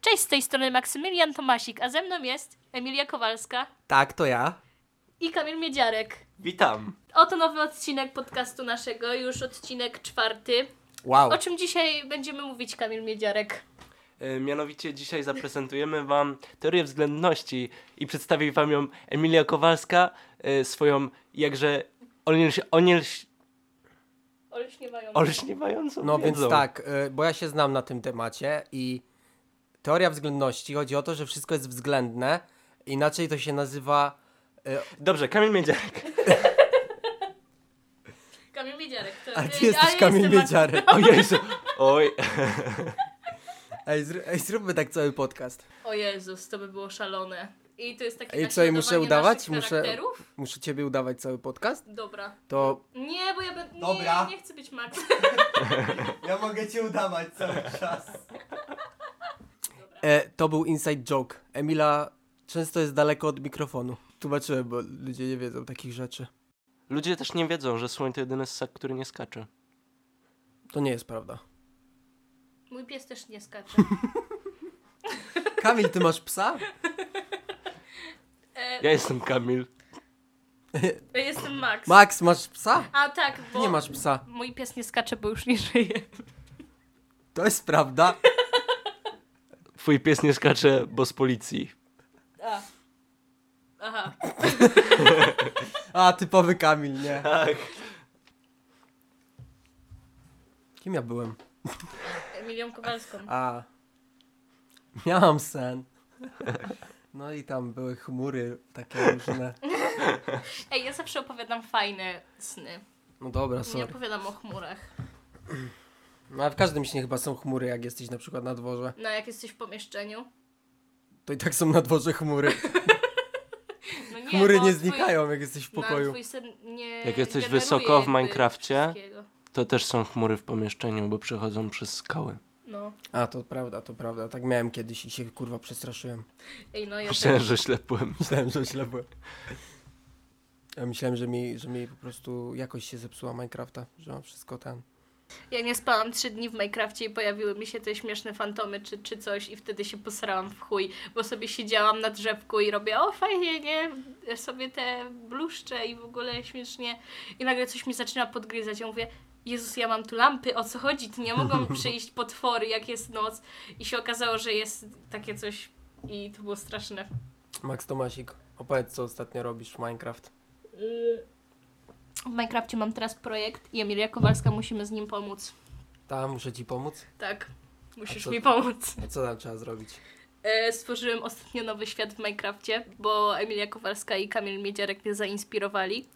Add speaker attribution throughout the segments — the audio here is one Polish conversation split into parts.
Speaker 1: Cześć, z tej strony Maksymilian Tomasik, a ze mną jest Emilia Kowalska
Speaker 2: Tak, to ja.
Speaker 1: i Kamil Miedziarek.
Speaker 3: Witam.
Speaker 1: Oto nowy odcinek podcastu naszego, już odcinek czwarty.
Speaker 2: Wow.
Speaker 1: O czym dzisiaj będziemy mówić, Kamil Miedziarek?
Speaker 3: E, Mianowicie dzisiaj zaprezentujemy Wam teorię względności i przedstawi Wam ją Emilia Kowalska, e, swoją jakże onielś, onielś,
Speaker 1: Olśniewają.
Speaker 3: olśniewającą
Speaker 2: No więc
Speaker 3: wiedzą.
Speaker 2: tak, y, bo ja się znam na tym temacie i teoria względności chodzi o to, że wszystko jest względne, inaczej to się nazywa
Speaker 3: Dobrze, Kamil Miedziarek.
Speaker 1: Kamil Miedziarek. To...
Speaker 2: A
Speaker 1: ja-
Speaker 2: ty jesteś
Speaker 1: ja
Speaker 2: Kamil
Speaker 1: jestem
Speaker 2: Miedziarek.
Speaker 3: O Jezu. Oj.
Speaker 2: Ej, zr- ej, zróbmy tak cały podcast.
Speaker 1: O Jezus, to by było szalone. I to jest takie
Speaker 2: Ej, co, i muszę
Speaker 1: naśladowanie
Speaker 2: udawać?
Speaker 1: naszych
Speaker 2: Muszę,
Speaker 1: charakterów?
Speaker 2: muszę ciebie udawać cały podcast?
Speaker 1: Dobra.
Speaker 2: To
Speaker 1: Nie, bo ja będę.
Speaker 2: Dobra.
Speaker 1: Nie, nie chcę być Max.
Speaker 2: Ja mogę cię udawać cały czas. E, to był inside joke. Emila często jest daleko od mikrofonu. Tłumaczyłem, bo ludzie nie wiedzą takich rzeczy.
Speaker 3: Ludzie też nie wiedzą, że słoń to jedyny ssak, który nie skacze.
Speaker 2: To nie jest prawda.
Speaker 1: Mój pies też nie skacze.
Speaker 2: Kamil, ty masz psa?
Speaker 3: Ja jestem Kamil.
Speaker 1: Ja jestem Max.
Speaker 2: Max, masz psa?
Speaker 1: A tak,
Speaker 2: Ty
Speaker 1: bo.
Speaker 2: nie masz psa.
Speaker 1: Mój pies nie skacze, bo już nie żyje.
Speaker 2: To jest prawda.
Speaker 3: Twój pies nie skacze, bo z policji.
Speaker 1: A. Aha.
Speaker 2: A, typowy Kamil, nie.
Speaker 3: Tak.
Speaker 2: Kim ja byłem?
Speaker 1: Emilią Kowalską.
Speaker 2: A. Miałam sen. No i tam były chmury takie różne.
Speaker 1: Ej, ja zawsze opowiadam fajne sny.
Speaker 2: No dobra,
Speaker 1: Nie
Speaker 2: sorry.
Speaker 1: opowiadam o chmurach.
Speaker 2: No, ale w każdym śnie chyba są chmury, jak jesteś na przykład na dworze.
Speaker 1: No, jak jesteś w pomieszczeniu.
Speaker 2: To i tak są na dworze chmury.
Speaker 1: No nie,
Speaker 2: Chmury
Speaker 1: bo
Speaker 2: nie
Speaker 1: twój-
Speaker 2: znikają, jak jesteś w
Speaker 1: no,
Speaker 2: pokoju.
Speaker 1: twój sen nie
Speaker 3: Jak jesteś
Speaker 1: generuje
Speaker 3: wysoko w
Speaker 1: jakby
Speaker 3: Minecrafcie.
Speaker 1: wszystkiego.
Speaker 3: To też są chmury w pomieszczeniu, bo przechodzą przez skały.
Speaker 1: No.
Speaker 2: A, to prawda, to prawda. Tak miałem kiedyś i się kurwa przestraszyłem.
Speaker 1: Ej, no ja
Speaker 3: Myślałem,
Speaker 1: też.
Speaker 3: że ślepłem.
Speaker 2: Myślałem, że źle byłem. Ja myślałem, że mi, że mi po prostu jakoś się zepsuła Minecrafta, że mam wszystko ten.
Speaker 1: Ja nie spałam trzy dni w Minecrafcie i pojawiły mi się te śmieszne fantomy czy, czy coś i wtedy się posrałam w chuj, bo sobie siedziałam na drzewku i robię, o fajnie, nie? Sobie te bluszcze i w ogóle śmiesznie. I nagle coś mi zaczyna podgryzać. Ja mówię, Jezus, ja mam tu lampy, o co chodzi? Tu nie mogą przyjść potwory, jak jest noc. I się okazało, że jest takie coś i to było straszne.
Speaker 2: Max Tomasik, opowiedz co ostatnio robisz w Minecraft.
Speaker 1: W Minecrafcie mam teraz projekt i Emilia Kowalska, musimy z nim pomóc.
Speaker 2: Tam muszę ci pomóc?
Speaker 1: Tak, musisz
Speaker 2: co-
Speaker 1: mi pomóc.
Speaker 2: A co tam trzeba zrobić?
Speaker 1: E, Stworzyłem ostatnio nowy świat w Minecrafcie, bo Emilia Kowalska i Kamil Miedziarek mnie zainspirowali.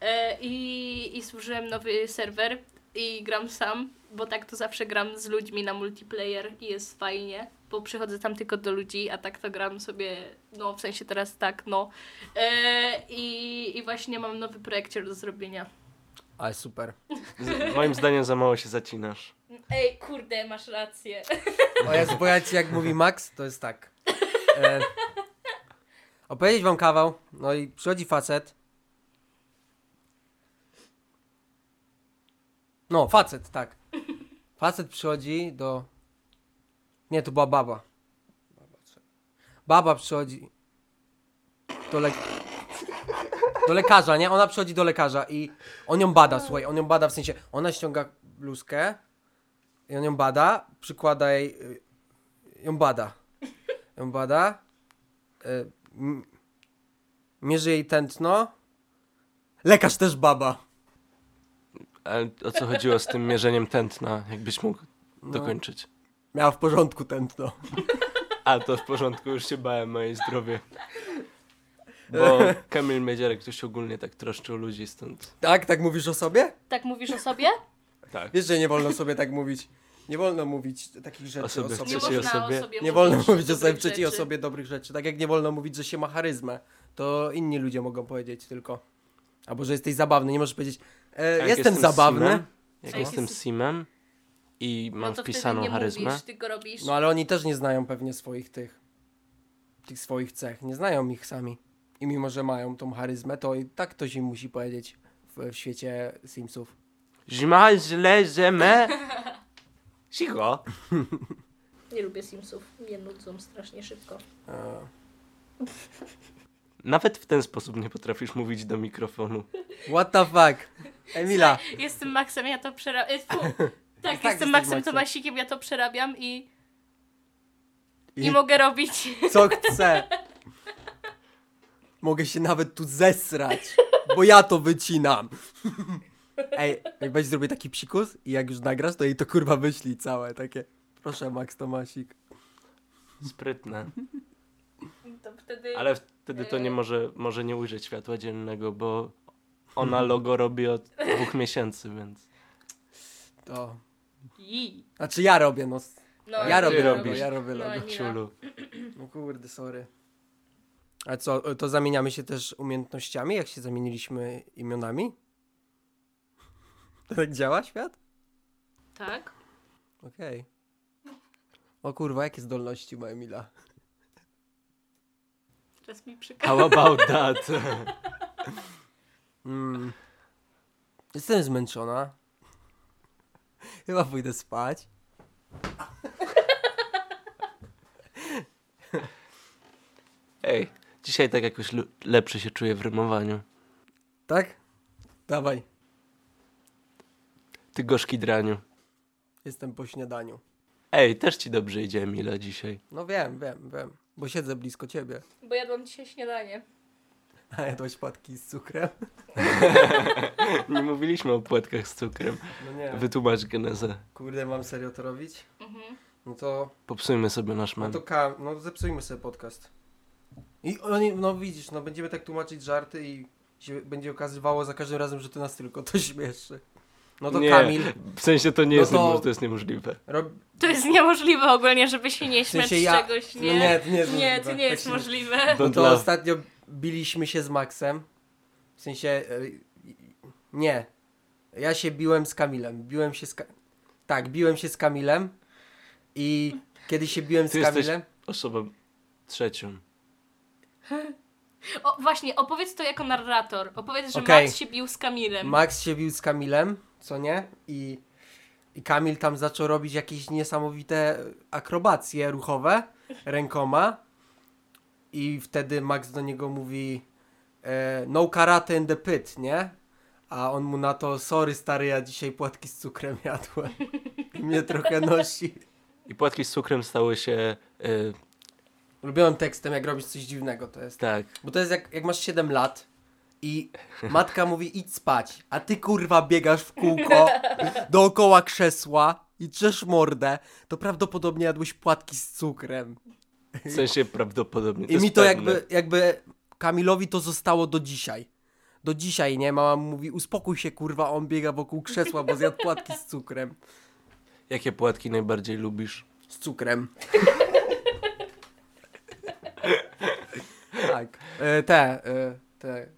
Speaker 1: E, I, I stworzyłem nowy serwer i gram sam, bo tak to zawsze gram z ludźmi na multiplayer i jest fajnie, bo przychodzę tam tylko do ludzi, a tak to gram sobie, no w sensie teraz tak, no. E, i, I właśnie mam nowy projekcier do zrobienia.
Speaker 2: Ale super.
Speaker 3: Z, moim zdaniem za mało się zacinasz.
Speaker 1: Ej, kurde, masz rację.
Speaker 2: O Jezu, bo ja ci, jak mówi Max, to jest tak. E, opowiedzieć wam kawał, no i przychodzi facet. No, facet, tak. Facet przychodzi do... Nie, to była baba. Baba przychodzi do, lek... do lekarza, nie? Ona przychodzi do lekarza i on ją bada, słuchaj, on ją bada w sensie, ona ściąga bluzkę, i on ją bada, przykłada jej. y, Ją bada. Ją bada. y, m- Mierzy jej tętno. Lekarz też baba.
Speaker 3: A o co chodziło z tym mierzeniem tętna, jakbyś mógł
Speaker 2: No.
Speaker 3: dokończyć?
Speaker 2: Miała w porządku tętno.
Speaker 3: A to w porządku, już się bałem moje zdrowie. Bo Kamil Miedziarek ktoś ogólnie tak troszczył ludzi, stąd
Speaker 2: Tak, tak mówisz o sobie?
Speaker 1: Tak mówisz o sobie?
Speaker 3: tak.
Speaker 2: Wiesz, że nie wolno sobie tak mówić. Nie wolno mówić takich rzeczy Znaczy o
Speaker 3: Osoby
Speaker 2: sobie.
Speaker 3: w
Speaker 1: Nie
Speaker 3: Trzeciej
Speaker 1: można
Speaker 3: osobie.
Speaker 1: o sobie
Speaker 2: Nie wolno mówić o sobie
Speaker 1: dobrych
Speaker 2: w trzeciej
Speaker 1: rzeczy.
Speaker 2: osobie dobrych rzeczy. Tak jak nie wolno mówić, że się ma charyzmę. To inni ludzie mogą powiedzieć tylko. Albo że jesteś zabawny. Nie możesz powiedzieć, e,
Speaker 3: Jak
Speaker 2: jestem, zabawny.
Speaker 3: Simem, jak
Speaker 1: Co?
Speaker 3: jestem Simem i mam
Speaker 1: no to wtedy
Speaker 3: wpisaną
Speaker 1: nie
Speaker 3: charyzmę,
Speaker 1: Mówisz, tylko robisz.
Speaker 2: No ale oni też nie znają pewnie swoich tych tych swoich cech, nie znają ich sami. I mimo, że mają tą charyzmę, to i tak ktoś im musi powiedzieć w, w świecie Simsów.
Speaker 3: zima źle, że me... Cicho.
Speaker 1: Nie lubię Simsów, mnie nudzą strasznie szybko.
Speaker 3: Nawet w ten sposób nie potrafisz mówić do mikrofonu.
Speaker 2: What the fuck? Emila,
Speaker 1: Jestem Maxem, ja to przerabiam. Tak,
Speaker 2: jesteś
Speaker 1: jestem Maxem
Speaker 2: Maxem.
Speaker 1: Tomasikiem, ja to przerabiam i, i...
Speaker 2: I-
Speaker 1: mogę robić.
Speaker 2: co chcę? Mogę się nawet tu zesrać, bo ja to wycinam. Ej, jak będziesz zrobił taki psikus i jak już nagrasz, to jej to kurwa wyślij całe takie. Proszę, Max Tomasik.
Speaker 3: Sprytne.
Speaker 1: To wtedy...
Speaker 3: Ale wtedy to nie może, może nie ujrzeć światła dziennego, bo ona logo robi od dwóch miesięcy, więc...
Speaker 2: To.
Speaker 1: Ij.
Speaker 2: Znaczy ja robię, no.
Speaker 1: No,
Speaker 2: Ja
Speaker 1: ty
Speaker 2: robię logo,
Speaker 1: robisz.
Speaker 2: ja robię
Speaker 1: No,
Speaker 2: logo.
Speaker 1: nie.
Speaker 3: Ciulu.
Speaker 2: No kurde, sorry. A co, to zamieniamy się też umiejętnościami, jak się zamieniliśmy imionami? Tak działa świat?
Speaker 1: Tak?
Speaker 2: Okej. O kurwa, jakie zdolności ma Emila?
Speaker 1: Teraz mi przykazał.
Speaker 3: How about that?
Speaker 2: Mm. Jestem zmęczona. Chyba pójdę spać.
Speaker 3: Ej, dzisiaj tak jakoś lu- lepszy się czuję w rymowaniu.
Speaker 2: Tak? Dawaj.
Speaker 3: Ty gorzki draniu.
Speaker 2: Jestem po śniadaniu.
Speaker 3: Ej, też ci dobrze idzie, Emila, dzisiaj.
Speaker 2: No wiem, wiem, wiem. Bo siedzę blisko ciebie.
Speaker 1: Bo jadłam dzisiaj śniadanie.
Speaker 2: A jadłaś płatki z cukrem?
Speaker 3: Nie mówiliśmy o płatkach z cukrem.
Speaker 2: No nie.
Speaker 3: Wytłumacz genezę.
Speaker 2: Kurde, mam serio to robić?
Speaker 1: Mhm.
Speaker 2: No to
Speaker 3: Popsujmy sobie nasz
Speaker 2: No
Speaker 3: mem.
Speaker 2: to ka, no zepsujmy sobie podcast. I oni, no widzisz, no będziemy tak tłumaczyć żarty i się będzie okazywało za każdym razem, że to nas tylko to śmieszy. No to
Speaker 3: Nie.
Speaker 2: Kamil,
Speaker 3: W sensie to nie
Speaker 2: No
Speaker 3: jest,
Speaker 2: to-
Speaker 3: niemożliwe, to jest niemożliwe.
Speaker 2: rob...
Speaker 1: To jest niemożliwe ogólnie, żeby się nie
Speaker 2: w
Speaker 1: śmiać
Speaker 2: sensie
Speaker 1: z
Speaker 2: ja...
Speaker 1: czegoś,
Speaker 2: no
Speaker 1: nie?
Speaker 2: nie, to nie jest
Speaker 1: nie, to
Speaker 2: możliwe.
Speaker 1: nie jest
Speaker 2: Tak się-
Speaker 1: możliwe.
Speaker 2: No
Speaker 3: No
Speaker 2: to
Speaker 3: dla-
Speaker 2: ostatnio biliśmy się z Maxem, w sensie, e, nie, ja się biłem z Kamilem, biłem się z, Ka... tak, biłem się z Kamilem i kiedy się biłem z
Speaker 3: Ty jesteś-
Speaker 2: Kamilem,
Speaker 3: Osobą trzecią.
Speaker 1: O, właśnie, opowiedz to jako narrator. Opowiedz, że
Speaker 2: Okej.
Speaker 1: Max się bił z Kamilem.
Speaker 2: Max się bił z Kamilem, co nie? I, I Kamil tam zaczął robić jakieś niesamowite akrobacje ruchowe rękoma. I wtedy Max do niego mówi e, no karate in the pit, nie? A on mu na to, sorry stary, ja dzisiaj płatki z cukrem jadłem. I mnie trochę nosi.
Speaker 3: I płatki z cukrem stały się... y,
Speaker 2: Lubiłem tekstem, jak robisz coś dziwnego, to jest.
Speaker 3: tak.
Speaker 2: Bo to jest jak, jak masz 7 lat i matka mówi idź spać, a ty kurwa biegasz w kółko dookoła krzesła i drzesz mordę, to prawdopodobnie jadłeś płatki z cukrem.
Speaker 3: W sensie prawdopodobnie.
Speaker 2: I
Speaker 3: jest
Speaker 2: mi to
Speaker 3: pewne.
Speaker 2: jakby, jakby Kamilowi to zostało do dzisiaj. Do dzisiaj, nie? Mama mu mówi uspokój się kurwa, on biega wokół krzesła, bo zjadł płatki z cukrem.
Speaker 3: Jakie płatki najbardziej lubisz?
Speaker 2: Z cukrem. tak. E, te, e, te,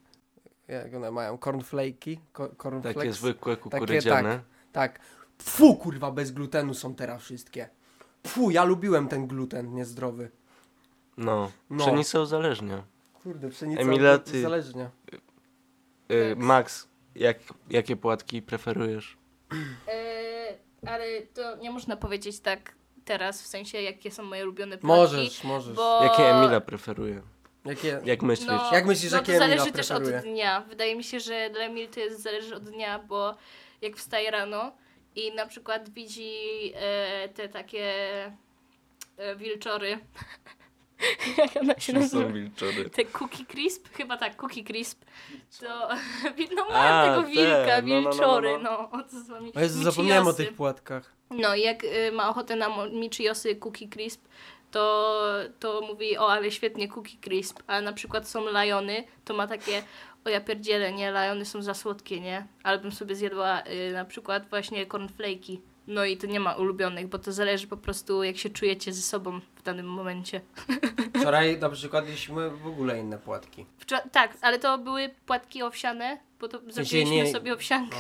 Speaker 2: jak one mają, cornflakey? Co, cornflakes?
Speaker 3: Takie zwykłe kukurydziane.
Speaker 2: Tak. Fu, kurwa, bez glutenu są teraz wszystkie. Fu, ja lubiłem ten gluten niezdrowy.
Speaker 3: No.
Speaker 2: No.
Speaker 3: Pszenica uzależnia. Y,
Speaker 2: Kurde, pszenica
Speaker 3: Emila,
Speaker 2: od-
Speaker 3: ty-
Speaker 2: uzależnia.
Speaker 3: Y, Max, jak, jakie płatki preferujesz?
Speaker 1: Eee, ale to nie można powiedzieć tak teraz, w sensie jakie są moje ulubione płatki.
Speaker 2: Możesz, możesz.
Speaker 1: Bo...
Speaker 3: Jakie Emila preferuje?
Speaker 2: Jakie...
Speaker 3: Jak myślisz?
Speaker 1: No,
Speaker 2: Jak myślisz,
Speaker 1: no
Speaker 2: jakie
Speaker 1: to
Speaker 2: Emila
Speaker 1: zależy też od
Speaker 2: preferuje?
Speaker 1: dnia. Wydaje mi się, że dla Emil to jest, zależy od dnia, bo jak wstaje rano i na przykład widzi e, te takie e, wilczory. Jak ona się
Speaker 3: Czym
Speaker 1: nazywa?
Speaker 3: są wilczory?
Speaker 1: Te Cookie Crisp? Chyba tak, Cookie Crisp. To no
Speaker 3: A,
Speaker 1: mam tego
Speaker 3: te,
Speaker 1: wilka,
Speaker 3: no, no, no,
Speaker 1: wilczory,
Speaker 3: no,
Speaker 1: no. O co z wami?
Speaker 2: O Jezu, zapomniałem o
Speaker 1: Michiosy.
Speaker 2: tych płatkach.
Speaker 1: No i jak y, ma ochotę na mo- Michiosy Cookie Crisp, to, to mówi, o ale świetnie Cookie Crisp, a na przykład są Liony, to ma takie, o ja pierdzielę, nie, Liony są za słodkie, nie? Ale bym sobie zjadła y, na przykład właśnie cornflake'i. No i to nie ma ulubionych, bo to zależy po prostu jak się czujecie ze sobą w danym momencie.
Speaker 2: Wczoraj na przykład jedliśmy w ogóle inne płatki.
Speaker 1: Wczor- tak, ale to były płatki owsiane, bo to zrobiliśmy
Speaker 2: nie-
Speaker 1: sobie owsiankę.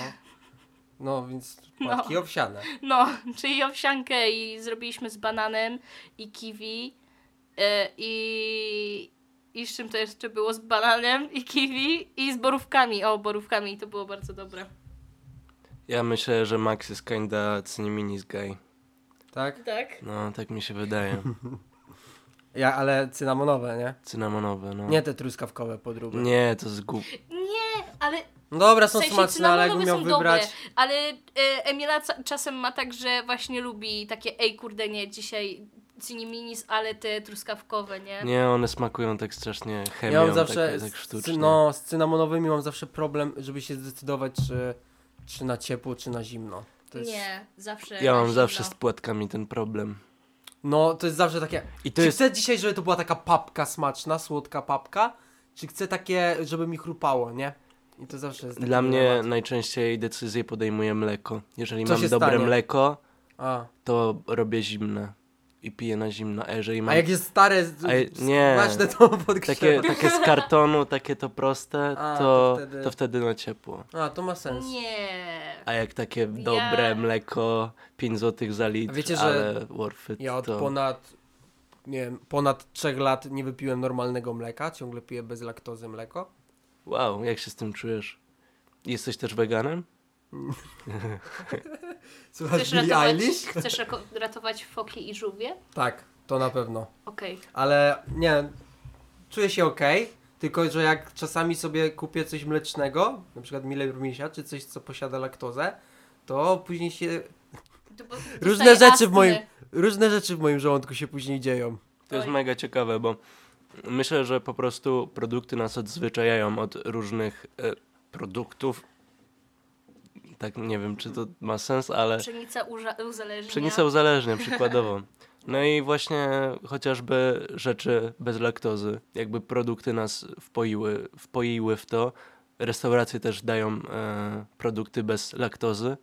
Speaker 2: No, no więc płatki owsiane.
Speaker 1: No, czyli owsiankę i zrobiliśmy z bananem i kiwi e, i, i z czym to jeszcze było? Z bananem i kiwi i z borówkami. O, borówkami to było bardzo dobre.
Speaker 3: Ja myślę, że Max jest kinda cyniminis guy.
Speaker 2: tak?
Speaker 1: Tak?
Speaker 3: No, tak mi się wydaje.
Speaker 2: Ja, ale cynamonowe, nie?
Speaker 3: Cynamonowe, no.
Speaker 2: Nie te truskawkowe podróby.
Speaker 3: Nie, to jest głup...
Speaker 1: Nie, ale
Speaker 2: No dobra,
Speaker 1: w
Speaker 2: są
Speaker 1: sensie
Speaker 2: smaczne, ale jakbym
Speaker 1: cynamonowe
Speaker 2: miał
Speaker 1: są
Speaker 2: wybrać...
Speaker 1: dobre, ale y, Emila ca- czasem ma tak, że właśnie lubi takie ej kurde nie, dzisiaj ciniminis, ale te truskawkowe, nie?
Speaker 3: Nie, one smakują tak strasznie chemią,
Speaker 2: Ja mam zawsze,
Speaker 3: tak, tak
Speaker 2: z,
Speaker 3: sztucznie.
Speaker 2: no, z cynamonowymi mam zawsze problem, żeby się zdecydować, czy, czy na ciepło, czy na zimno. To jest,
Speaker 1: Nie, zawsze.
Speaker 3: Ja
Speaker 1: na
Speaker 3: mam
Speaker 1: zimno.
Speaker 3: zawsze z płatkami ten problem.
Speaker 2: No, to jest zawsze takie,
Speaker 3: I to
Speaker 2: czy
Speaker 3: jest...
Speaker 2: chcę dzisiaj, żeby to była taka papka smaczna, słodka papka, czy chcę takie, żeby mi chrupało, nie? I to zawsze jest taki
Speaker 3: Dla mnie
Speaker 2: dylemat.
Speaker 3: najczęściej decyzję podejmuje mleko. Jeżeli
Speaker 2: Co
Speaker 3: mam
Speaker 2: się
Speaker 3: dobre
Speaker 2: stanie?
Speaker 3: mleko,
Speaker 2: A,
Speaker 3: to robię zimne. I piję na zimno. A jeżeli
Speaker 2: a
Speaker 3: mam
Speaker 2: jak jest stare, z-
Speaker 3: No. A je-
Speaker 2: z-
Speaker 3: nie.
Speaker 2: smaczne, to podgrzewa.
Speaker 3: takie, tak- takie z kartonu, takie to proste,
Speaker 2: A,
Speaker 3: to,
Speaker 2: to
Speaker 3: to, wtedy...
Speaker 2: wtedy-
Speaker 3: na ciepło.
Speaker 2: A, to ma sens.
Speaker 1: Nie.
Speaker 3: A jak takie dobre mleko, 5 zł za litr,
Speaker 2: A wiecie, że
Speaker 3: ale worth it,
Speaker 2: Ja od
Speaker 3: to...
Speaker 2: ponad, nie wiem, ponad trzech lat nie wypiłem normalnego mleka, ciągle piję bez laktozy mleko.
Speaker 3: Wow, jak się z tym czujesz? Jesteś też weganem?
Speaker 2: Słuchasz
Speaker 1: Chcesz
Speaker 2: Billie
Speaker 1: ratować,
Speaker 2: Eilish?
Speaker 1: chcesz rako- ratować foki i żółwie?
Speaker 2: Tak, to na pewno.
Speaker 1: Okej.
Speaker 2: Ale nie, czuję się ok, tylko że jak czasami sobie kupię coś mlecznego, na przykład mile misia, czy coś, co posiada laktozę, to później się.
Speaker 1: To bo- dostaję
Speaker 2: Różne rzeczy, w
Speaker 1: astmy.
Speaker 2: moim, różne rzeczy w moim żołądku się później dzieją.
Speaker 3: To jest
Speaker 1: Oj.
Speaker 3: mega ciekawe, bo myślę, że po prostu produkty nas odzwyczajają od różnych e, produktów. Tak, nie wiem, czy to ma sens, ale
Speaker 1: Pszenica uża- uzależnia.
Speaker 3: Pszenica uzależnia, przykładowo. No i właśnie chociażby rzeczy bez laktozy, jakby produkty nas wpoiły, wpoiły w to. Restauracje też dają e, produkty bez laktozy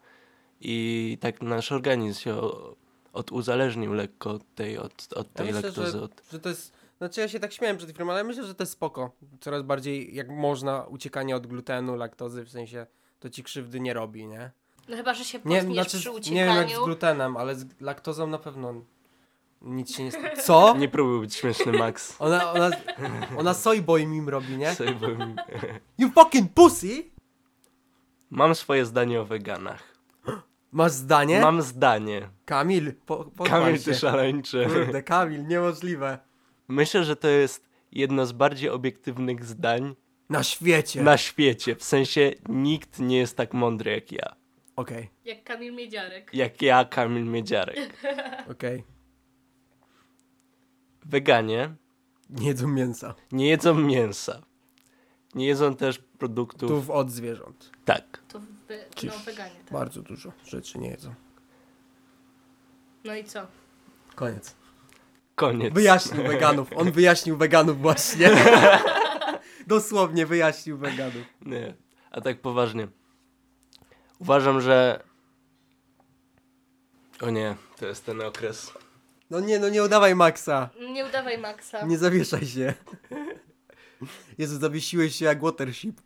Speaker 3: i tak nasz organizm się o- oduzależnił lekko od tej, od, od tej
Speaker 2: myślę,
Speaker 3: laktozy.
Speaker 2: że-
Speaker 3: Od...
Speaker 2: Że to jest. Znaczy ja się tak śmiałem przed chwilą, ale myślę, że to jest spoko. Coraz bardziej jak można uciekanie od glutenu, laktozy, w sensie to ci krzywdy nie robi, nie?
Speaker 1: No chyba, że się
Speaker 2: Nie, znaczy,
Speaker 1: potkniesz przy
Speaker 2: nie wiem jak z
Speaker 1: uciekaniu.
Speaker 2: glutenem, ale z laktozą na pewno nic się nie sta- Co?
Speaker 3: Nie próbuj być śmieszny, Max.
Speaker 2: Ona, ona, ona soyboy mim robi, nie?
Speaker 3: Sobie powiem.
Speaker 2: You fucking pussy!
Speaker 3: Mam swoje zdanie o weganach.
Speaker 2: Masz zdanie?
Speaker 3: Mam zdanie.
Speaker 2: Kamil, po, pochwal
Speaker 3: Kamil,
Speaker 2: się.
Speaker 3: ty szaleńczy.
Speaker 2: Kurde, Kamil, niemożliwe.
Speaker 3: Myślę, że to jest jedno z bardziej obiektywnych zdań
Speaker 2: Na świecie.
Speaker 3: na świecie. W sensie nikt nie jest tak mądry jak ja.
Speaker 2: Okej,
Speaker 1: Jak Kamil Miedziarek.
Speaker 3: Jak ja, Kamil Miedziarek.
Speaker 2: okej.
Speaker 3: Weganie
Speaker 2: Nie jedzą mięsa.
Speaker 3: nie jedzą mięsa. Nie jedzą też produktów.
Speaker 2: Tów od zwierząt.
Speaker 3: Tak.
Speaker 1: To wy-
Speaker 2: Cif.
Speaker 1: no, weganie. Tak.
Speaker 2: Bardzo dużo rzeczy nie jedzą.
Speaker 1: No i co?
Speaker 2: Koniec.
Speaker 3: Koniec.
Speaker 2: Wyjaśnił weganów. On wyjaśnił weganów właśnie. Dosłownie wyjaśnił weganów.
Speaker 3: Nie. A tak poważnie. Uważam, że. O nie, to jest ten okres.
Speaker 2: No nie, no nie udawaj Maxa.
Speaker 1: Nie udawaj Maxa.
Speaker 2: Nie zawieszaj się. Jezu, zawiesiłeś się jak watership.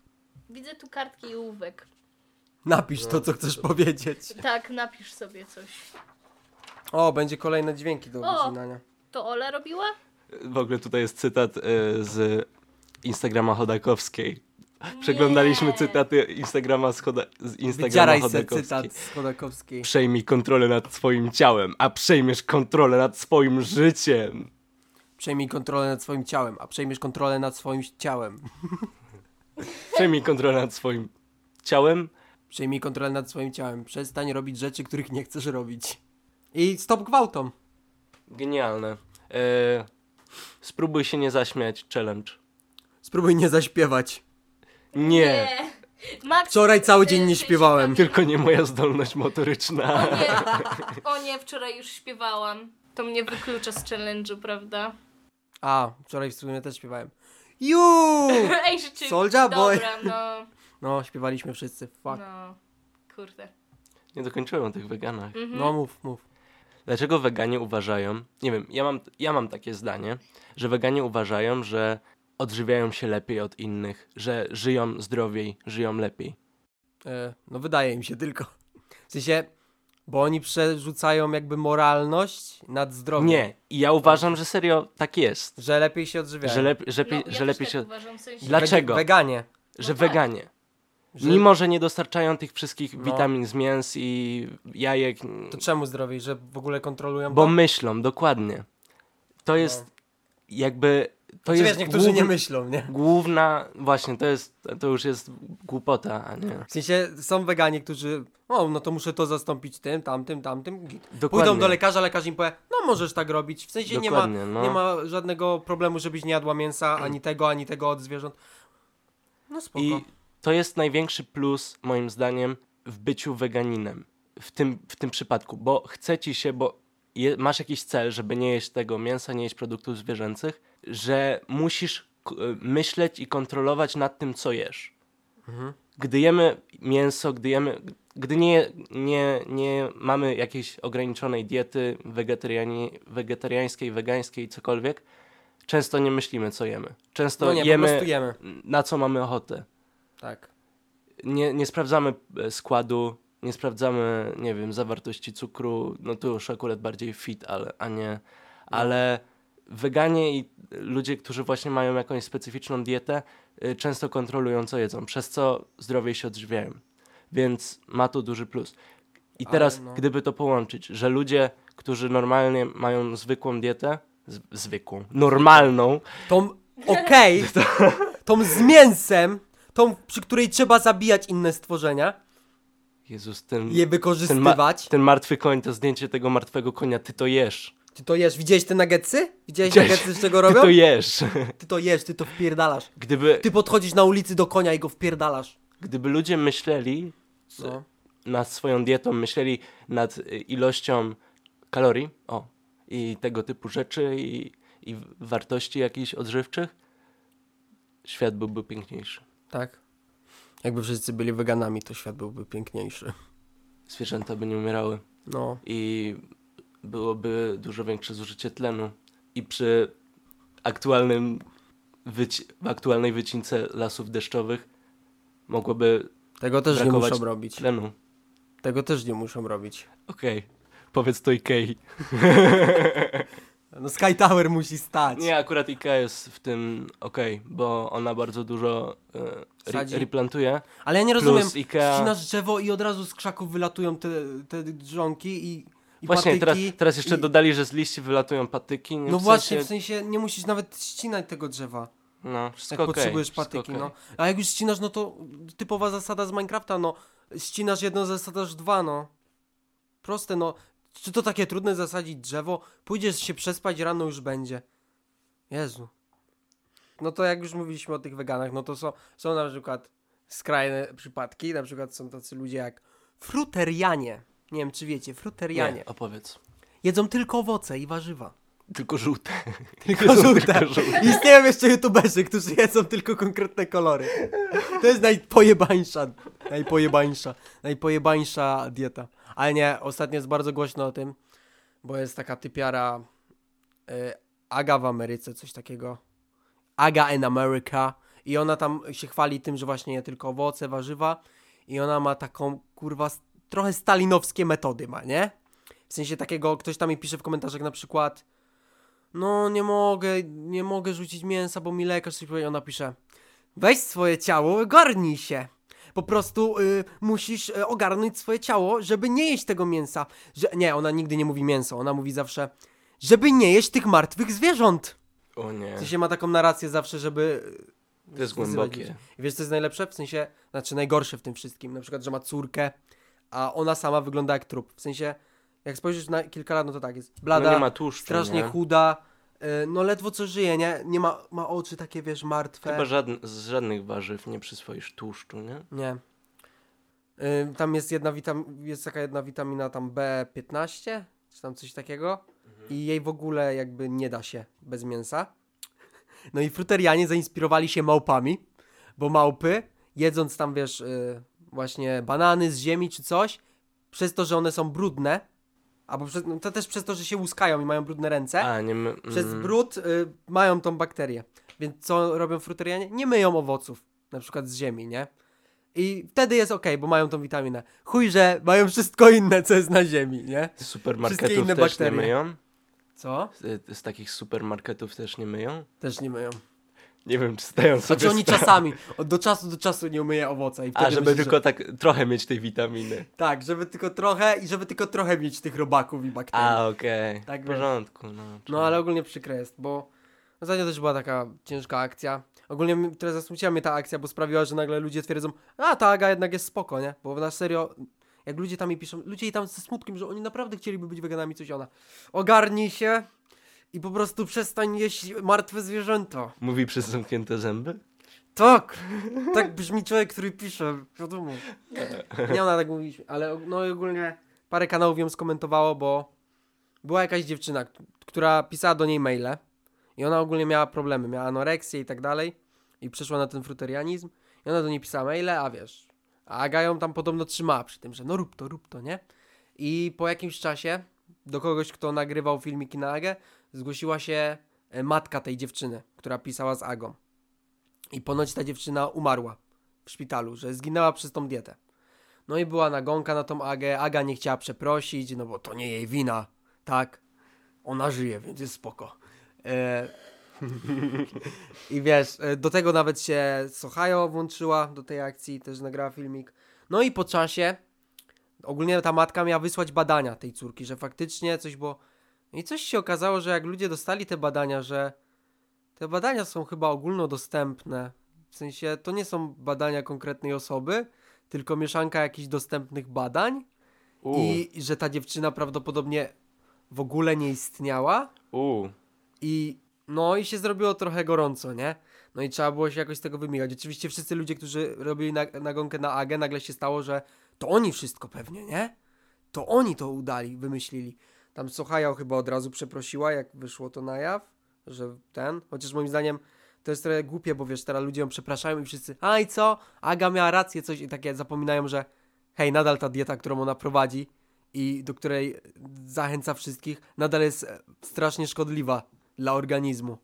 Speaker 1: Widzę tu kartki i ołówek.
Speaker 2: Napisz to, co chcesz powiedzieć.
Speaker 1: Tak, napisz sobie coś.
Speaker 2: O, będzie kolejne dźwięki do
Speaker 1: O.
Speaker 2: wycinania.
Speaker 1: To Ola robiła?
Speaker 3: W ogóle tutaj jest cytat y, z Instagrama Chodakowskiej. Przeglądaliśmy
Speaker 1: Nie.
Speaker 3: cytaty Instagrama z, Choda- z Instagrama
Speaker 2: Wydzieraj se
Speaker 3: Chodakowskiej.
Speaker 2: cytat z Chodakowskiej.
Speaker 3: Przejmij kontrolę nad swoim ciałem, a przejmiesz kontrolę nad swoim życiem.
Speaker 2: Przejmij kontrolę nad swoim ciałem, a przejmiesz kontrolę nad swoim ciałem.
Speaker 3: Przejmij kontrolę nad swoim ciałem.
Speaker 2: Przejmij kontrolę nad swoim ciałem. Przestań robić rzeczy, których nie chcesz robić. I stop gwałtom.
Speaker 3: Genialne. E, spróbuj się nie zaśmiać. Challenge.
Speaker 2: Spróbuj nie zaśpiewać.
Speaker 3: Nie,
Speaker 1: Max,
Speaker 2: Wczoraj cały dzień
Speaker 1: y,
Speaker 2: nie
Speaker 1: ty
Speaker 2: śpiewałem.
Speaker 3: tylko nie moja zdolność motoryczna.
Speaker 1: śpiewa- Nie. O nie, wczoraj już śpiewałam. To mnie wyklucza z challenge'u, prawda?
Speaker 2: A, wczoraj w sumie też śpiewałem. Ju!
Speaker 1: Ej, rzeczywiście.
Speaker 2: Soulja Boy.
Speaker 1: Dobra, no,
Speaker 2: No, śpiewaliśmy wszyscy. Fuck.
Speaker 1: no. Kurde.
Speaker 3: Nie dokończyłem o tych weganach.
Speaker 2: No mów, mów.
Speaker 3: Dlaczego weganie uważają, nie wiem, ja mam, ja mam takie zdanie, że weganie uważają, że odżywiają się lepiej od innych, że żyją zdrowiej, żyją lepiej.
Speaker 2: E, no wydaje im się tylko. W sensie, bo oni przerzucają jakby moralność nad zdrowiem.
Speaker 3: Nie, i ja uważam, że serio tak jest.
Speaker 2: Że lepiej się odżywiają.
Speaker 3: Że, lep, że,
Speaker 1: No,
Speaker 3: pi-
Speaker 1: ja
Speaker 3: że
Speaker 1: też
Speaker 3: lepiej
Speaker 1: tak
Speaker 3: się.
Speaker 1: uważam, w sensie...
Speaker 3: Dla- Dlaczego?
Speaker 2: Weganie.
Speaker 3: Że
Speaker 1: No tak.
Speaker 3: weganie.
Speaker 2: Że-
Speaker 3: Mimo, że nie dostarczają tych wszystkich
Speaker 2: No.
Speaker 3: witamin z mięs i jajek,
Speaker 2: To czemu zdrowiej, że w ogóle kontrolują?
Speaker 3: bo
Speaker 2: to?
Speaker 3: myślą, dokładnie. To jest jakby...
Speaker 2: Czy
Speaker 3: To jest
Speaker 2: No. Znaczy, wiesz, niektórzy nie myślą, nie?
Speaker 3: główna... Właśnie, to jest, to już jest głupota, a nie...
Speaker 2: W sensie są weganie, którzy, o, no to muszę to zastąpić tym, tamtym, tamtym. git.
Speaker 3: Dokładnie.
Speaker 2: Pójdą do lekarza, lekarz im powie, no możesz tak robić. W sensie nie ma,
Speaker 3: Dokładnie, no.
Speaker 2: nie ma żadnego problemu, żebyś nie jadła mięsa, ani tego, ani tego od zwierząt. No spoko.
Speaker 3: I to jest największy plus, moim zdaniem, w byciu weganinem. W tym, w tym przypadku, bo chce ci się, bo je, masz jakiś cel, żeby nie jeść tego mięsa, nie jeść produktów zwierzęcych, że musisz k- y, myśleć i kontrolować nad tym, co jesz.
Speaker 2: Mhm.
Speaker 3: Gdy jemy mięso, gdy jemy. Gdy nie, nie, nie mamy jakiejś ograniczonej diety wegetariani, wegetariańskiej, wegańskiej, cokolwiek, często nie myślimy, co jemy. Często
Speaker 2: No nie, po
Speaker 3: jemy,
Speaker 2: prostu jemy.
Speaker 3: na co mamy ochotę.
Speaker 2: Tak.
Speaker 3: Nie, nie sprawdzamy e, składu, nie sprawdzamy, nie wiem, zawartości cukru, no tu już akurat bardziej fit, ale, a nie, ale weganie i ludzie, którzy właśnie mają jakąś specyficzną dietę, y, często kontrolują, co jedzą, przez co zdrowiej się odżywiają. Więc ma to duży plus. I
Speaker 2: Ale
Speaker 3: teraz,
Speaker 2: no.
Speaker 3: gdyby to połączyć, że ludzie, którzy normalnie mają zwykłą dietę, z, zwykłą, normalną,
Speaker 2: Tą, okej, tą z mięsem, tą, przy której trzeba zabijać inne stworzenia,
Speaker 3: Jezus, ten...
Speaker 2: je
Speaker 3: Ten, ma-
Speaker 2: wykorzystywać.
Speaker 3: ten martwy koń, to zdjęcie tego martwego konia, ty to jesz.
Speaker 2: Ty to jesz, widziałeś te nuggetsy? Widziałeś
Speaker 3: Widziałeś-
Speaker 2: nuggetsy, z czego
Speaker 3: Ty
Speaker 2: robią?
Speaker 3: to jesz.
Speaker 2: Ty to jesz, ty to wpierdalasz.
Speaker 3: Gdyby,
Speaker 2: Ty podchodzisz na ulicy do konia i go wpierdalasz.
Speaker 3: gdyby ludzie myśleli
Speaker 2: No.
Speaker 3: nad swoją dietą, myśleli nad y, ilością kalorii o, i tego typu rzeczy i, i wartości jakichś odżywczych, świat byłby piękniejszy.
Speaker 2: Tak. Jakby wszyscy byli weganami, to świat byłby piękniejszy.
Speaker 3: Zwierzęta by nie umierały.
Speaker 2: No.
Speaker 3: i byłoby dużo większe zużycie tlenu. I przy aktualnym wyci- w aktualnej wycince lasów deszczowych mogłoby
Speaker 2: Tego też
Speaker 3: Brakować
Speaker 2: nie muszą robić.
Speaker 3: tlenu.
Speaker 2: Tego też nie muszą robić.
Speaker 3: Okej, powiedz to Ikei.
Speaker 2: No Sky Tower musi stać.
Speaker 3: Nie, akurat Ikea jest w tym okej, bo ona bardzo dużo e,
Speaker 2: Sadzi.
Speaker 3: re- replantuje.
Speaker 2: Ale ja nie
Speaker 3: Plus
Speaker 2: rozumiem.
Speaker 3: Ikea-
Speaker 2: Ścinasz drzewo i od razu z krzaków wylatują te, te drzonki i, i
Speaker 3: Właśnie
Speaker 2: patyki.
Speaker 3: teraz, teraz jeszcze
Speaker 2: i...
Speaker 3: dodali, że z liści wylatują patyki. nie?
Speaker 2: No
Speaker 3: W
Speaker 2: właśnie,
Speaker 3: sensie-
Speaker 2: w sensie nie musisz nawet ścinać tego drzewa.
Speaker 3: No, wszystko
Speaker 2: Jak
Speaker 3: okej,
Speaker 2: potrzebujesz
Speaker 3: wszystko
Speaker 2: patyki,
Speaker 3: okej.
Speaker 2: no. A jak już ścinasz, no to typowa zasada z Minecrafta, no. Ścinasz jedno, zasadasz dwa, no. Proste, no. Czy to takie trudne zasadzić drzewo? Pójdziesz się przespać, rano już będzie. Jezu. No to jak już mówiliśmy o tych weganach, no to są, są na przykład skrajne przypadki, na przykład są tacy ludzie jak fruterianie. Nie wiem, czy wiecie, fruterianie.
Speaker 3: Nie, opowiedz.
Speaker 2: Jedzą tylko owoce i warzywa.
Speaker 3: Tylko żółte.
Speaker 2: Tylko żółte.
Speaker 3: Tylko żółte.
Speaker 2: Istnieją jeszcze youtuberzy, którzy jedzą tylko konkretne kolory. To jest najpojebańsza, najpojebańsza, najpojebańsza dieta. Ale nie, ostatnio jest bardzo głośno o tym, bo jest taka typiara y, Aga w Ameryce, coś takiego. Aga in America. I ona tam się chwali tym, że właśnie je tylko owoce, warzywa. I ona ma taką, kurwa, s- trochę stalinowskie metody ma, nie? W sensie takiego, ktoś tam mi pisze w komentarzach na przykład no nie mogę, nie mogę rzucić mięsa, bo mi lekarz coś powiedział. Ona pisze, weź swoje ciało, garnij się. Po prostu y, musisz y, ogarnąć swoje ciało, żeby nie jeść tego mięsa. Że, nie, ona nigdy nie mówi mięso, ona mówi zawsze, żeby nie jeść tych martwych zwierząt.
Speaker 3: O nie,
Speaker 2: W sensie ma taką narrację zawsze, żeby...
Speaker 3: to jest
Speaker 2: wskazywać
Speaker 3: głębokie.
Speaker 2: ludzi. I wiesz, co jest najlepsze? W sensie, znaczy najgorsze w tym wszystkim. Na przykład, że ma córkę, a ona sama wygląda jak trup. W sensie, jak spojrzysz na kilka lat, no to tak jest. Blada,
Speaker 3: No nie ma tłuszczu,
Speaker 2: strasznie
Speaker 3: nie?
Speaker 2: chuda, y, no ledwo co żyje, nie? Nie ma, ma oczy takie, wiesz, martwe.
Speaker 3: Chyba żadn- z żadnych warzyw nie przyswoisz tłuszczu, nie?
Speaker 2: Nie. Y, tam jest jedna witam- jest taka jedna witamina tam B15, czy tam coś takiego.
Speaker 3: Mhm.
Speaker 2: I jej w ogóle jakby nie da się bez mięsa. No i fruterianie zainspirowali się małpami, bo małpy, jedząc tam, wiesz, y, właśnie banany z ziemi czy coś, przez to, że one są brudne, albo przez, no to też przez to, że się łuskają i mają brudne ręce,
Speaker 3: A, nie my, mm,
Speaker 2: E? przez brud y, mają tą bakterię. Więc co robią fruterianie? Nie myją owoców, na przykład z ziemi, nie? I wtedy jest okej, bo mają tą witaminę. Chuj, że mają wszystko inne, co jest na ziemi, nie?
Speaker 3: z
Speaker 2: wszystkie
Speaker 3: supermarketów
Speaker 2: inne
Speaker 3: też
Speaker 2: bakterie.
Speaker 3: nie myją?
Speaker 2: Co?
Speaker 3: y, Z, z takich supermarketów też nie myją?
Speaker 2: Też nie myją.
Speaker 3: Nie wiem, czy stają sobie
Speaker 2: Znaczy oni
Speaker 3: sprawę.
Speaker 2: czasami, od do czasu do czasu nie umyję owoca i wtedy
Speaker 3: A, żeby
Speaker 2: myślę, że-
Speaker 3: tylko tak trochę mieć tej witaminy.
Speaker 2: Tak, żeby tylko trochę i żeby tylko trochę mieć tych robaków i bakterii.
Speaker 3: A, okej.
Speaker 2: Tak
Speaker 3: W
Speaker 2: wiesz.
Speaker 3: porządku, no.
Speaker 2: No ale ogólnie przykre jest, bo ostatnio też była taka ciężka akcja. Ogólnie mi- teraz zasmuciła mnie ta akcja, bo sprawiła, że nagle ludzie twierdzą, a ta Aga jednak jest spoko, nie? Bo na serio, jak ludzie tam mi piszą, ludzie jej tam ze smutkiem, że oni naprawdę chcieliby być weganami, coś ona. Ogarnij się i po prostu przestań jeść martwe zwierzęta.
Speaker 3: Mówi przez zamknięte zęby?
Speaker 2: Tak! Tak brzmi człowiek, który pisze, wiadomo. Nie ona tak mówi, ale og- no i ogólnie parę kanałów ją skomentowało, bo była jakaś dziewczyna, k- która pisała do niej maile i ona ogólnie miała problemy, miała anoreksję i tak dalej i przeszła na ten fruterianizm i ona do niej pisała maile, a wiesz, a Aga ją tam podobno trzymała przy tym, że no rób to, rób to, nie? I po jakimś czasie do kogoś, kto nagrywał filmiki na Agę, zgłosiła się e, matka tej dziewczyny, która pisała z Agą. I ponoć ta dziewczyna umarła w szpitalu, że zginęła przez tą dietę. No i była nagonka na tą Agę. Aga nie chciała przeprosić, no bo to nie jej wina, tak? Ona żyje, więc jest spoko. E... I wiesz, e, do tego nawet się Sochajo włączyła do tej akcji, też nagrała filmik. No i po czasie ogólnie ta matka miała wysłać badania tej córki, że faktycznie coś było. I coś się okazało, że jak ludzie dostali te badania, że te badania są chyba ogólnodostępne. W sensie to nie są badania konkretnej osoby, tylko mieszanka jakichś dostępnych badań
Speaker 3: U,
Speaker 2: i że ta dziewczyna prawdopodobnie w ogóle nie istniała
Speaker 3: u.
Speaker 2: i no i się zrobiło trochę gorąco, nie? No i trzeba było się jakoś z tego wymigać. Oczywiście wszyscy ludzie, którzy robili na- nagonkę na Agę, nagle się stało, że to oni wszystko pewnie, nie? To oni to udali, wymyślili. Tam Sochaja chyba od razu przeprosiła, jak wyszło to na jaw, że ten, chociaż moim zdaniem to jest trochę głupie, bo wiesz, teraz ludzie ją przepraszają i wszyscy, a i co? Aga miała rację, coś i takie zapominają, że hej, nadal ta dieta, którą ona prowadzi i do której zachęca wszystkich, nadal jest e, strasznie szkodliwa dla organizmu.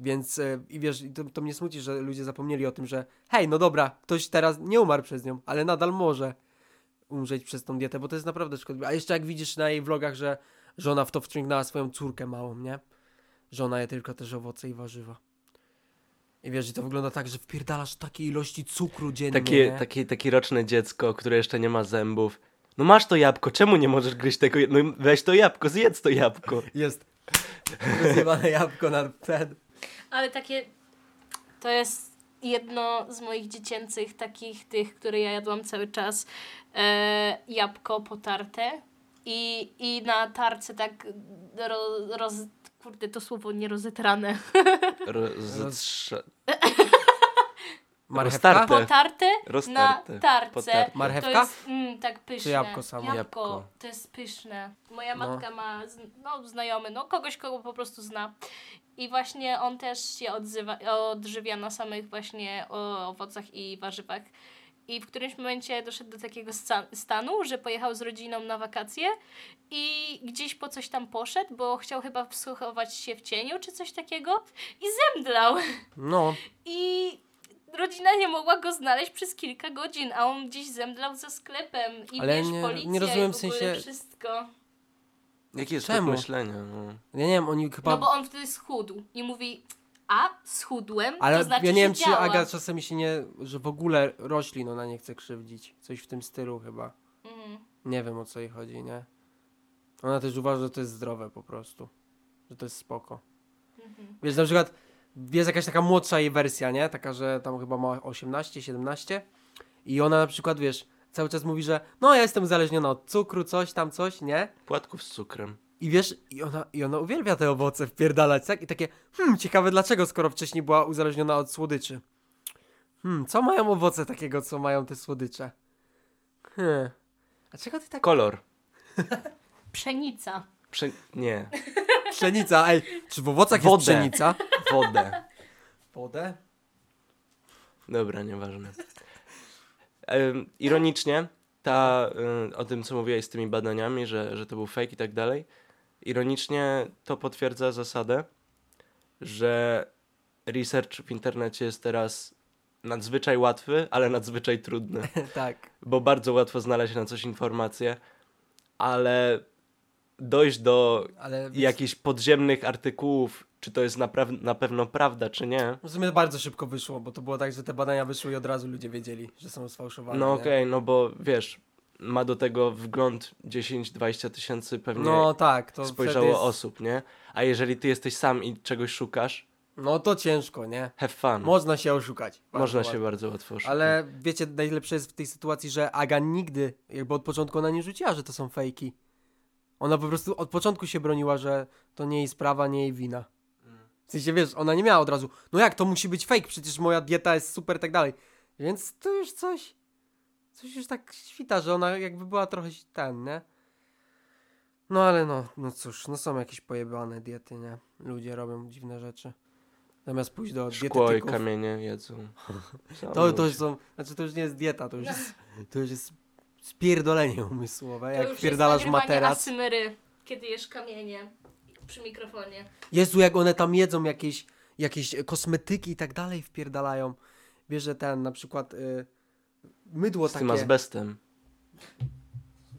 Speaker 2: Więc e, i wiesz, i to, to mnie smuci, że ludzie zapomnieli o tym, że hej, no dobra, ktoś teraz nie umarł przez nią, ale nadal może umrzeć przez tą dietę, bo to jest naprawdę szkodliwe. A jeszcze jak widzisz na jej vlogach, że żona w to wciągnęła swoją córkę małą, nie? Żona je tylko też owoce i warzywa. I wiesz, i to wygląda tak, że wpierdalasz takie ilości cukru dziennie.
Speaker 3: Takie,
Speaker 2: nie?
Speaker 3: takie, takie roczne dziecko, które jeszcze nie ma zębów. No masz to jabłko, czemu nie możesz gryźć tego? je- No weź to jabłko, zjedz to jabłko.
Speaker 2: Jest. Rozjebane jabłko na ten.
Speaker 1: Ale takie. To jest jedno z moich dziecięcych, takich tych, które ja jadłam cały czas. E, jabłko potarte. I, I na tarce tak ro, roz. Kurde, to słowo nierozetrane.
Speaker 3: Rozetrze...
Speaker 2: No, Marchewka?
Speaker 3: Roztarte.
Speaker 1: Potarte na
Speaker 3: Roztarte.
Speaker 2: tak.
Speaker 1: tarce.
Speaker 3: Potarte.
Speaker 2: Marchewka?
Speaker 1: To jest mm, tak pyszne.
Speaker 2: jabłko samo?
Speaker 1: Jabłko,
Speaker 3: Jabłko.
Speaker 1: to jest pyszne. Moja
Speaker 2: No.
Speaker 1: matka ma zn- no, znajomy, no kogoś, kogo po prostu zna. I właśnie on też się odzywa, odżywia na samych właśnie o, owocach i warzywach. I w którymś momencie doszedł do takiego sca- stanu, że pojechał z rodziną na wakacje i gdzieś po coś tam poszedł, bo chciał chyba wsłuchować się w cieniu czy coś takiego i zemdlał.
Speaker 2: No,
Speaker 1: I rodzina nie mogła go znaleźć przez kilka godzin, a on gdzieś zemdlał za sklepem i
Speaker 2: Ale
Speaker 1: wiesz,
Speaker 2: nie-
Speaker 1: policja
Speaker 2: nie rozumiem
Speaker 1: i w
Speaker 2: w
Speaker 1: ogóle
Speaker 2: sensie-
Speaker 1: wszystko.
Speaker 3: Jakie jest
Speaker 2: Czemu?
Speaker 3: to myślenie? No.
Speaker 2: ja nie wiem, oni chyba...
Speaker 1: No bo on wtedy schudł i mówi, a schudłem,
Speaker 2: Ale
Speaker 1: to znaczy,
Speaker 2: ja nie wiem,
Speaker 1: że
Speaker 2: czy
Speaker 1: działa.
Speaker 2: Aga czasami się nie... że w ogóle roślin ona nie chce krzywdzić. Coś w tym stylu chyba.
Speaker 1: Mhm.
Speaker 2: Nie wiem, o co jej chodzi, nie? Ona też uważa, że to jest zdrowe po prostu. Że to jest spoko.
Speaker 1: Mhm.
Speaker 2: Wiesz, na przykład jest jakaś taka młodsza jej wersja, nie? Taka, że tam chyba ma 18, 17 i ona na przykład, wiesz, cały czas mówi, że no ja jestem uzależniona od cukru, coś tam, coś, nie?
Speaker 3: Płatków z cukrem.
Speaker 2: I wiesz, i ona, i ona uwielbia te owoce wpierdalać, tak? I takie, hmm, ciekawe dlaczego, skoro wcześniej była uzależniona od słodyczy. Hmm, co mają owoce takiego, co mają te słodycze? Hmm. A czego ty tak...
Speaker 3: Kolor.
Speaker 1: Pszenica.
Speaker 3: Prze... Nie.
Speaker 2: Pszenica, ej, czy w owocach
Speaker 3: Wodę.
Speaker 2: jest pszenica?
Speaker 3: Wodę.
Speaker 2: Wodę?
Speaker 3: Dobra, nieważne. Em, Ironicznie, ta, y, o tym co mówiłaś z tymi badaniami, że, że to był fake i tak dalej, ironicznie to potwierdza zasadę, że research w internecie jest teraz nadzwyczaj łatwy, ale nadzwyczaj trudny
Speaker 2: tak.
Speaker 3: bo bardzo łatwo znaleźć na coś informacje, ale dojść do
Speaker 2: Ale
Speaker 3: jakichś podziemnych artykułów, czy to jest na, praw- na pewno prawda, czy nie.
Speaker 2: w sumie bardzo szybko wyszło, bo to było tak, że te badania wyszły i od razu ludzie wiedzieli, że są sfałszowane.
Speaker 3: No
Speaker 2: nie?
Speaker 3: okej, no bo wiesz, ma do tego wgląd 10-20 tysięcy pewnie
Speaker 2: No tak, to
Speaker 3: spojrzało
Speaker 2: spojrzało jest...
Speaker 3: osób, nie? A jeżeli ty jesteś sam i czegoś szukasz,
Speaker 2: No to ciężko, nie?
Speaker 3: have fun.
Speaker 2: Można się oszukać. Bardzo
Speaker 3: Hmm. Można się
Speaker 2: łatwo.
Speaker 3: bardzo łatwo oszukać.
Speaker 2: Ale wiecie, najlepsze jest w tej sytuacji, że Aga nigdy, jakby od początku ona nie rzuciła, że to są fejki. Ona po prostu od początku się broniła, że to nie jej sprawa, nie jej wina. W sensie, wiesz, ona nie miała od razu, no jak, to musi być fake, przecież moja dieta jest super, tak dalej. Więc to już coś, coś już tak świta, że ona jakby była trochę ten, nie? No ale no, no cóż, no są jakieś pojebane diety, nie? Ludzie robią dziwne rzeczy. Zamiast pójść do
Speaker 3: Szkło i
Speaker 2: dietetyków.
Speaker 3: kamienie jedzą.
Speaker 2: To,
Speaker 3: Sam
Speaker 2: to,
Speaker 3: ludzie.
Speaker 2: już są, znaczy to już nie jest dieta, to już jest, to już jest spierdolenie umysłowe, jak wpierdalasz materac.
Speaker 1: asymery, kiedy jesz kamienie przy mikrofonie.
Speaker 2: Jezu, jak one tam jedzą jakieś, jakieś kosmetyki i tak dalej wpierdalają. Bierze ten na przykład y, mydło
Speaker 3: Z tym
Speaker 2: takie,
Speaker 3: azbestem.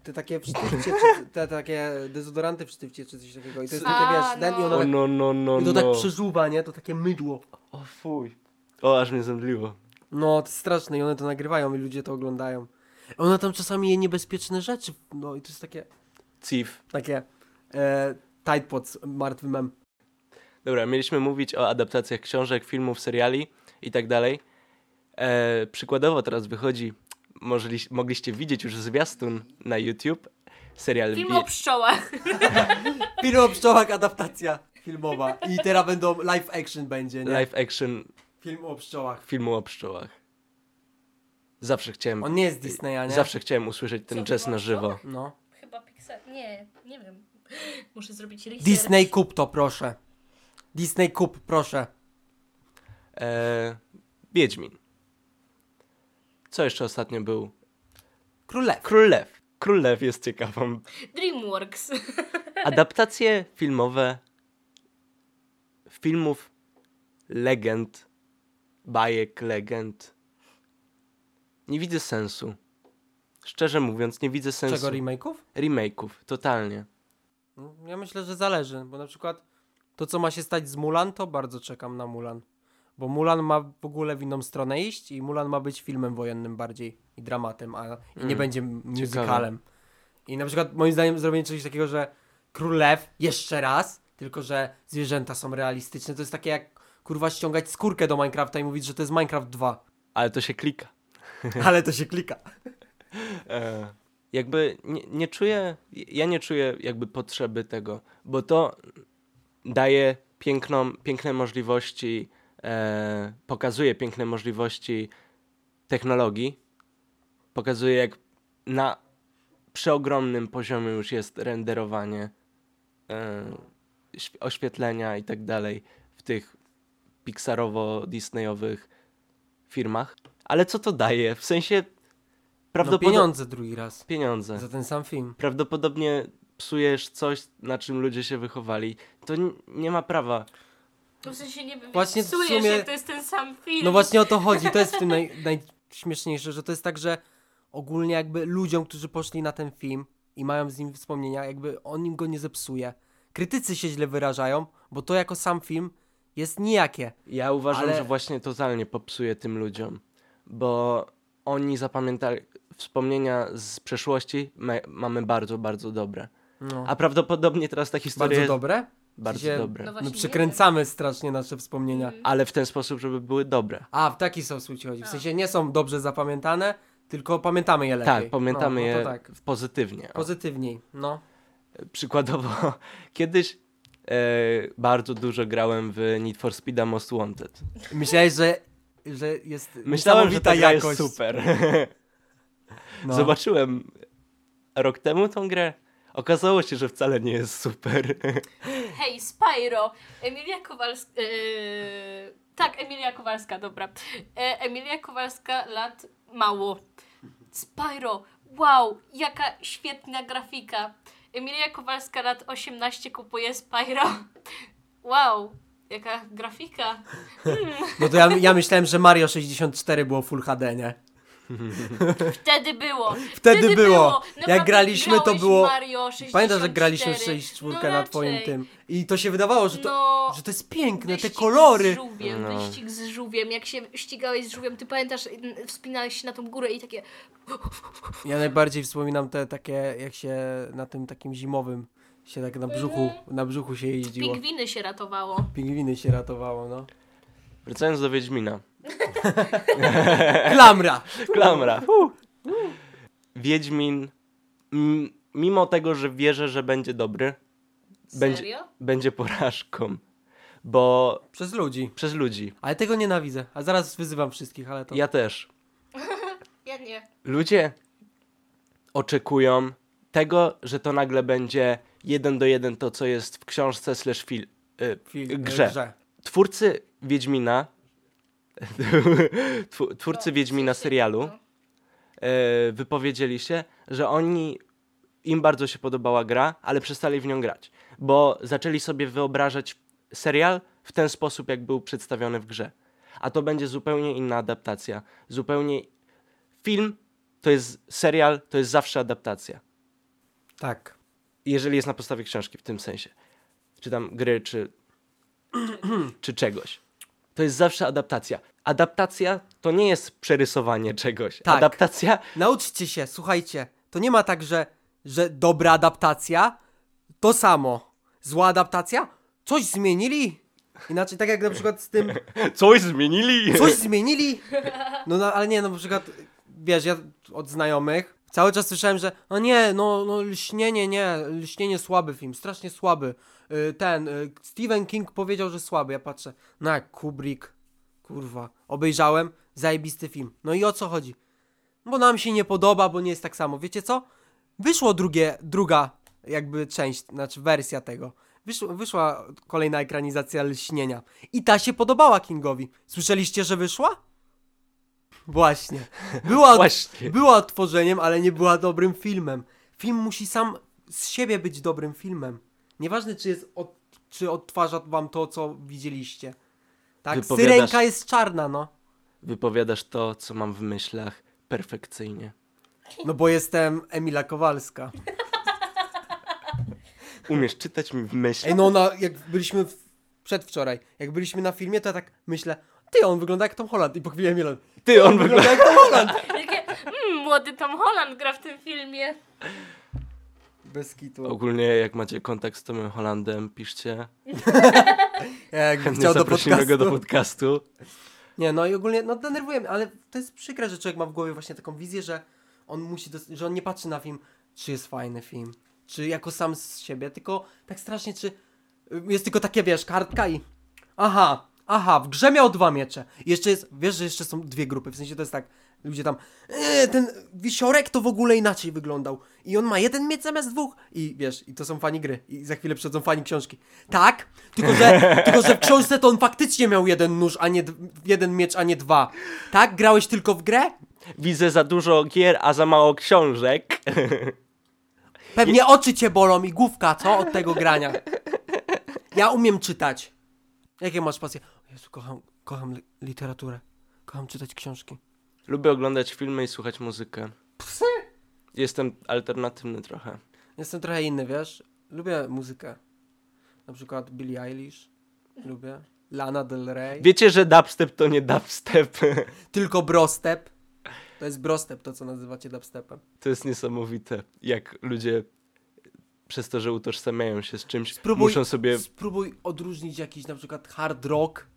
Speaker 2: te takie w sztywcie, czy te takie dezodoranty w sztywcie, czy coś takiego. I to jest
Speaker 1: A,
Speaker 2: takie, wiesz, ten i
Speaker 1: no.
Speaker 2: ona
Speaker 3: O
Speaker 2: tak,
Speaker 3: no, no, no,
Speaker 2: i to tak
Speaker 3: no.
Speaker 2: przeżuwa, nie? To takie mydło.
Speaker 3: O fuj. O, aż mnie zemdliło.
Speaker 2: No, to jest straszne i one to nagrywają i ludzie to oglądają. Ona tam czasami je niebezpieczne rzeczy, no i to jest takie...
Speaker 3: Cif.
Speaker 2: Takie e, Tide Pods, martwy mem.
Speaker 3: Dobra, mieliśmy mówić o adaptacjach książek, filmów, seriali i tak dalej. E, przykładowo teraz wychodzi, możli, mogliście widzieć już zwiastun na YouTube, serial
Speaker 1: Film
Speaker 3: Wi-
Speaker 1: o pszczołach.
Speaker 2: Film o pszczołach, adaptacja filmowa. I teraz będą live action będzie, nie?
Speaker 3: live action
Speaker 2: Film o pszczołach.
Speaker 3: filmu o pszczołach. Zawsze chciałem,
Speaker 2: On nie jest Disneya, nie?
Speaker 3: zawsze chciałem usłyszeć ten
Speaker 1: Co,
Speaker 3: jazz
Speaker 1: film
Speaker 3: na
Speaker 1: o
Speaker 3: żywo.
Speaker 1: pszczołach?
Speaker 2: No.
Speaker 1: Chyba Pixar. Nie, nie wiem. Muszę zrobić research.
Speaker 2: Disney kup to, proszę. Disney kup, proszę.
Speaker 3: E, Wiedźmin. Co jeszcze ostatnio był?
Speaker 2: Królew.
Speaker 3: Król Lew. Król Lew jest ciekawą.
Speaker 1: Dreamworks.
Speaker 3: Adaptacje filmowe filmów legend, bajek legend. Nie widzę sensu. Szczerze mówiąc, nie widzę sensu
Speaker 2: Czego, remake'ów?
Speaker 3: remake'ów, totalnie.
Speaker 2: No, Ja myślę, że zależy, bo na przykład to, co ma się stać z Mulan, to bardzo czekam na Mulan. Bo Mulan ma w ogóle w inną stronę iść i Mulan ma być filmem wojennym bardziej i dramatem, a i nie
Speaker 3: Mm,
Speaker 2: będzie
Speaker 3: ciekawe.
Speaker 2: musicalem. I na przykład moim zdaniem zrobienie czegoś takiego, że Król Lew jeszcze raz, tylko że zwierzęta są realistyczne, to jest takie jak kurwa ściągać skórkę do Minecrafta i mówić, że to jest Minecraft 2.
Speaker 3: Ale to się klika.
Speaker 2: Ale to się klika.
Speaker 3: E, jakby nie, nie czuję, ja nie czuję jakby potrzeby tego, bo to daje piękną, piękne możliwości, e, pokazuje piękne możliwości technologii, pokazuje jak na przeogromnym poziomie już jest renderowanie e, św- oświetlenia i tak dalej w tych pixarowo-disneyowych firmach. Ale co to daje? W sensie
Speaker 2: No
Speaker 3: prawdopodobnie
Speaker 2: pieniądze drugi raz
Speaker 3: pieniądze.
Speaker 2: za ten sam film.
Speaker 3: Prawdopodobnie psujesz coś, na czym ludzie się wychowali. To n- nie ma prawa.
Speaker 1: No W sensie nie wiem,
Speaker 2: Właśnie
Speaker 1: Właśnie
Speaker 2: w
Speaker 1: psujesz,
Speaker 2: sumie-
Speaker 1: jak to jest ten sam film.
Speaker 2: No właśnie o to chodzi. To jest w tym naj, najśmieszniejsze, że to jest tak, że ogólnie jakby ludziom, którzy poszli na ten film i mają z nim wspomnienia, jakby on im go nie zepsuje. Krytycy się źle wyrażają, bo to jako sam film jest nijakie.
Speaker 3: Ja uważam,
Speaker 2: Ale-
Speaker 3: że właśnie totalnie popsuje tym ludziom, bo oni zapamiętali wspomnienia z przeszłości me- mamy bardzo, bardzo dobre.
Speaker 2: No.
Speaker 3: A prawdopodobnie teraz ta historia
Speaker 2: Bardzo
Speaker 3: jest
Speaker 2: dobre?
Speaker 3: bardzo
Speaker 2: Gdzie-
Speaker 3: dobre.
Speaker 1: No
Speaker 2: My
Speaker 1: właśnie
Speaker 2: przekręcamy strasznie nasze wspomnienia.
Speaker 3: Ale w ten sposób, żeby były dobre.
Speaker 2: A, w taki sposób ci chodzi. W
Speaker 1: Tak.
Speaker 2: sensie nie są dobrze zapamiętane, tylko pamiętamy je lepiej.
Speaker 3: Tak, pamiętamy
Speaker 2: no, no to
Speaker 3: je
Speaker 2: tak.
Speaker 3: pozytywnie. O.
Speaker 2: Pozytywniej, no.
Speaker 3: Przykładowo, kiedyś e, bardzo dużo grałem w Need for Speed'a Most Wanted.
Speaker 2: Myślałeś, że, że jest
Speaker 3: Myślałem, że
Speaker 2: niesamowita
Speaker 3: ta gra
Speaker 2: jakość.
Speaker 3: jest super.
Speaker 2: No.
Speaker 3: Zobaczyłem rok temu tą grę. Okazało się, że wcale nie jest super.
Speaker 1: wiem. Hej, Spyro, Emilia Kowalska... Yy... Tak, Emilia Kowalska, dobra. E, Emilia Kowalska, lat mało. Spyro, wow, jaka świetna grafika. Emilia Kowalska, lat 18, kupuje Spyro. Wow, jaka grafika.
Speaker 2: No to ja, ja myślałem, że Mario 64 było Full HD, nie?
Speaker 1: Wtedy było.
Speaker 2: Wtedy było.
Speaker 1: Naprawdę
Speaker 2: Jak graliśmy, to
Speaker 1: grałeś
Speaker 2: było-
Speaker 1: Mario 64.
Speaker 2: Pamiętasz, że graliśmy w 6 czwórkę
Speaker 1: no
Speaker 2: na twoim
Speaker 1: raczej.
Speaker 2: tym. I to się wydawało, że to,
Speaker 1: No.
Speaker 2: że to jest piękne, te
Speaker 1: Wyścig Z
Speaker 2: kolory.
Speaker 1: żółwiem,
Speaker 3: No.
Speaker 1: Wyścig z żółwiem, jak się ścigałeś z żółwiem, ty pamiętasz, n- wspinałeś się na tą górę i takie,
Speaker 2: Ja najbardziej wspominam te takie, jak się na tym takim zimowym się tak na brzuchu,
Speaker 1: Mhm.
Speaker 2: na brzuchu się jeździło.
Speaker 1: pingwiny się ratowało.
Speaker 2: Pingwiny się ratowało, no.
Speaker 3: Wracając do Wiedźmina.
Speaker 2: Klamra!
Speaker 3: Klamra. Uh. Wiedźmin, m- mimo tego, że wierzę, że będzie dobry, będzie,
Speaker 1: Serio?
Speaker 3: będzie porażką. Bo
Speaker 2: Przez ludzi.
Speaker 3: przez ludzi.
Speaker 2: Ale tego nienawidzę. A zaraz wyzywam wszystkich, ale to...
Speaker 3: Ja też.
Speaker 1: Ja nie.
Speaker 3: ludzie oczekują tego, że to nagle będzie jeden do jeden to, co jest w książce slash fil, y,
Speaker 2: Fil-
Speaker 3: grze.
Speaker 2: grze.
Speaker 3: Twórcy Wiedźmina, twu- twórcy Wiedźmina serialu y, wypowiedzieli się, że oni, im bardzo się podobała gra, ale przestali w nią grać, bo zaczęli sobie wyobrażać serial w ten sposób, jak był przedstawiony w grze. A to będzie zupełnie inna adaptacja, zupełnie film to jest serial, to jest zawsze adaptacja.
Speaker 2: Tak.
Speaker 3: Jeżeli jest na podstawie książki w tym sensie, czy tam gry, czy, czy czegoś. To jest zawsze adaptacja. Adaptacja to nie jest przerysowanie czegoś.
Speaker 2: Tak.
Speaker 3: Adaptacja
Speaker 2: Nauczcie się, słuchajcie. To nie ma tak, że, że dobra adaptacja to samo. Zła adaptacja? Coś zmienili? Inaczej, tak jak na przykład z tym
Speaker 3: coś zmienili.
Speaker 2: Coś zmienili? No, no ale nie, no na przykład, wiesz, ja od znajomych cały czas słyszałem, że no nie, no, no lśnienie, nie, lśnienie słaby film, strasznie słaby. Y, Ten, y, Stephen King powiedział, że słaby, ja patrzę, no jak Kubrick, kurwa, obejrzałem, zajebisty film. No i o co chodzi? Bo nam się nie podoba, bo nie jest tak samo. Wiecie co? Wyszło drugie, druga jakby część, znaczy wersja tego. Wyszło, wyszła kolejna ekranizacja Lśnienia. I ta się podobała Kingowi. Słyszeliście, że wyszła? Właśnie. Była,
Speaker 3: Właśnie.
Speaker 2: była odtworzeniem, ale nie była dobrym filmem. Film musi sam z siebie być dobrym filmem. Nieważne, czy, jest od, czy odtwarza wam to, co widzieliście. Tak,
Speaker 3: Wypowiadasz-
Speaker 2: syrenka jest czarna, no.
Speaker 3: Wypowiadasz to, co mam w myślach perfekcyjnie.
Speaker 2: No bo jestem Emila Kowalska.
Speaker 3: Umiesz czytać mi w myślach.
Speaker 2: Ej, no na, jak byliśmy w, przedwczoraj, jak byliśmy na filmie, to ja tak myślę, ty, on wygląda jak Tom Holland. I po chwili Emil,
Speaker 3: Ty, on wygląda...
Speaker 2: wygląda jak Tom Holland.
Speaker 1: Takie, mm, młody Tom Holland gra w tym filmie.
Speaker 2: Bez kitu.
Speaker 3: Ogólnie, jak macie kontakt z Tomem Hollandem, piszcie.
Speaker 2: Jakby
Speaker 3: Chętnie
Speaker 2: chciał do
Speaker 3: zaprosimy
Speaker 2: podcastu.
Speaker 3: go do podcastu.
Speaker 2: Nie, no i ogólnie, no denerwuje mnie, ale to jest przykre, że człowiek ma w głowie właśnie taką wizję, że on musi, dos- że on nie patrzy na film, czy jest fajny film, czy jako sam z siebie, tylko tak strasznie, czy y, jest tylko takie, wiesz, kartka i aha, aha, w grze miał dwa miecze. I Jeszcze jest, wiesz, że jeszcze są dwie grupy, w sensie to jest tak, ludzie tam, e, ten wisiorek to w ogóle inaczej wyglądał i on ma jeden miecz zamiast dwóch i wiesz, i to są fani gry i za chwilę przychodzą fani książki. Tak, tylko że, tylko że w książce to on faktycznie miał jeden nóż, a nie, d- jeden miecz, a nie dwa. Tak, grałeś tylko w grę?
Speaker 3: Widzę za dużo gier, a za mało książek.
Speaker 2: Pewnie oczy cię bolą i główka, co? Od tego grania. Ja umiem czytać. Jakie masz pasje? O Jezu, kocham, kocham li- literaturę. Kocham czytać książki.
Speaker 3: Lubię oglądać filmy i słuchać muzykę.
Speaker 2: Psy!
Speaker 3: Jestem alternatywny trochę.
Speaker 2: Jestem trochę inny, wiesz? Lubię muzykę. Na przykład Billie Eilish. Lubię. Lana Del Rey.
Speaker 3: Wiecie, że dubstep to nie dubstep.
Speaker 2: Tylko brostep. To jest brostep, to co nazywacie dubstepem.
Speaker 3: To jest niesamowite, jak ludzie przez to, że utożsamiają się z czymś,
Speaker 2: Spróbuj-
Speaker 3: muszą sobie...
Speaker 2: Spróbuj odróżnić jakiś na przykład hard rock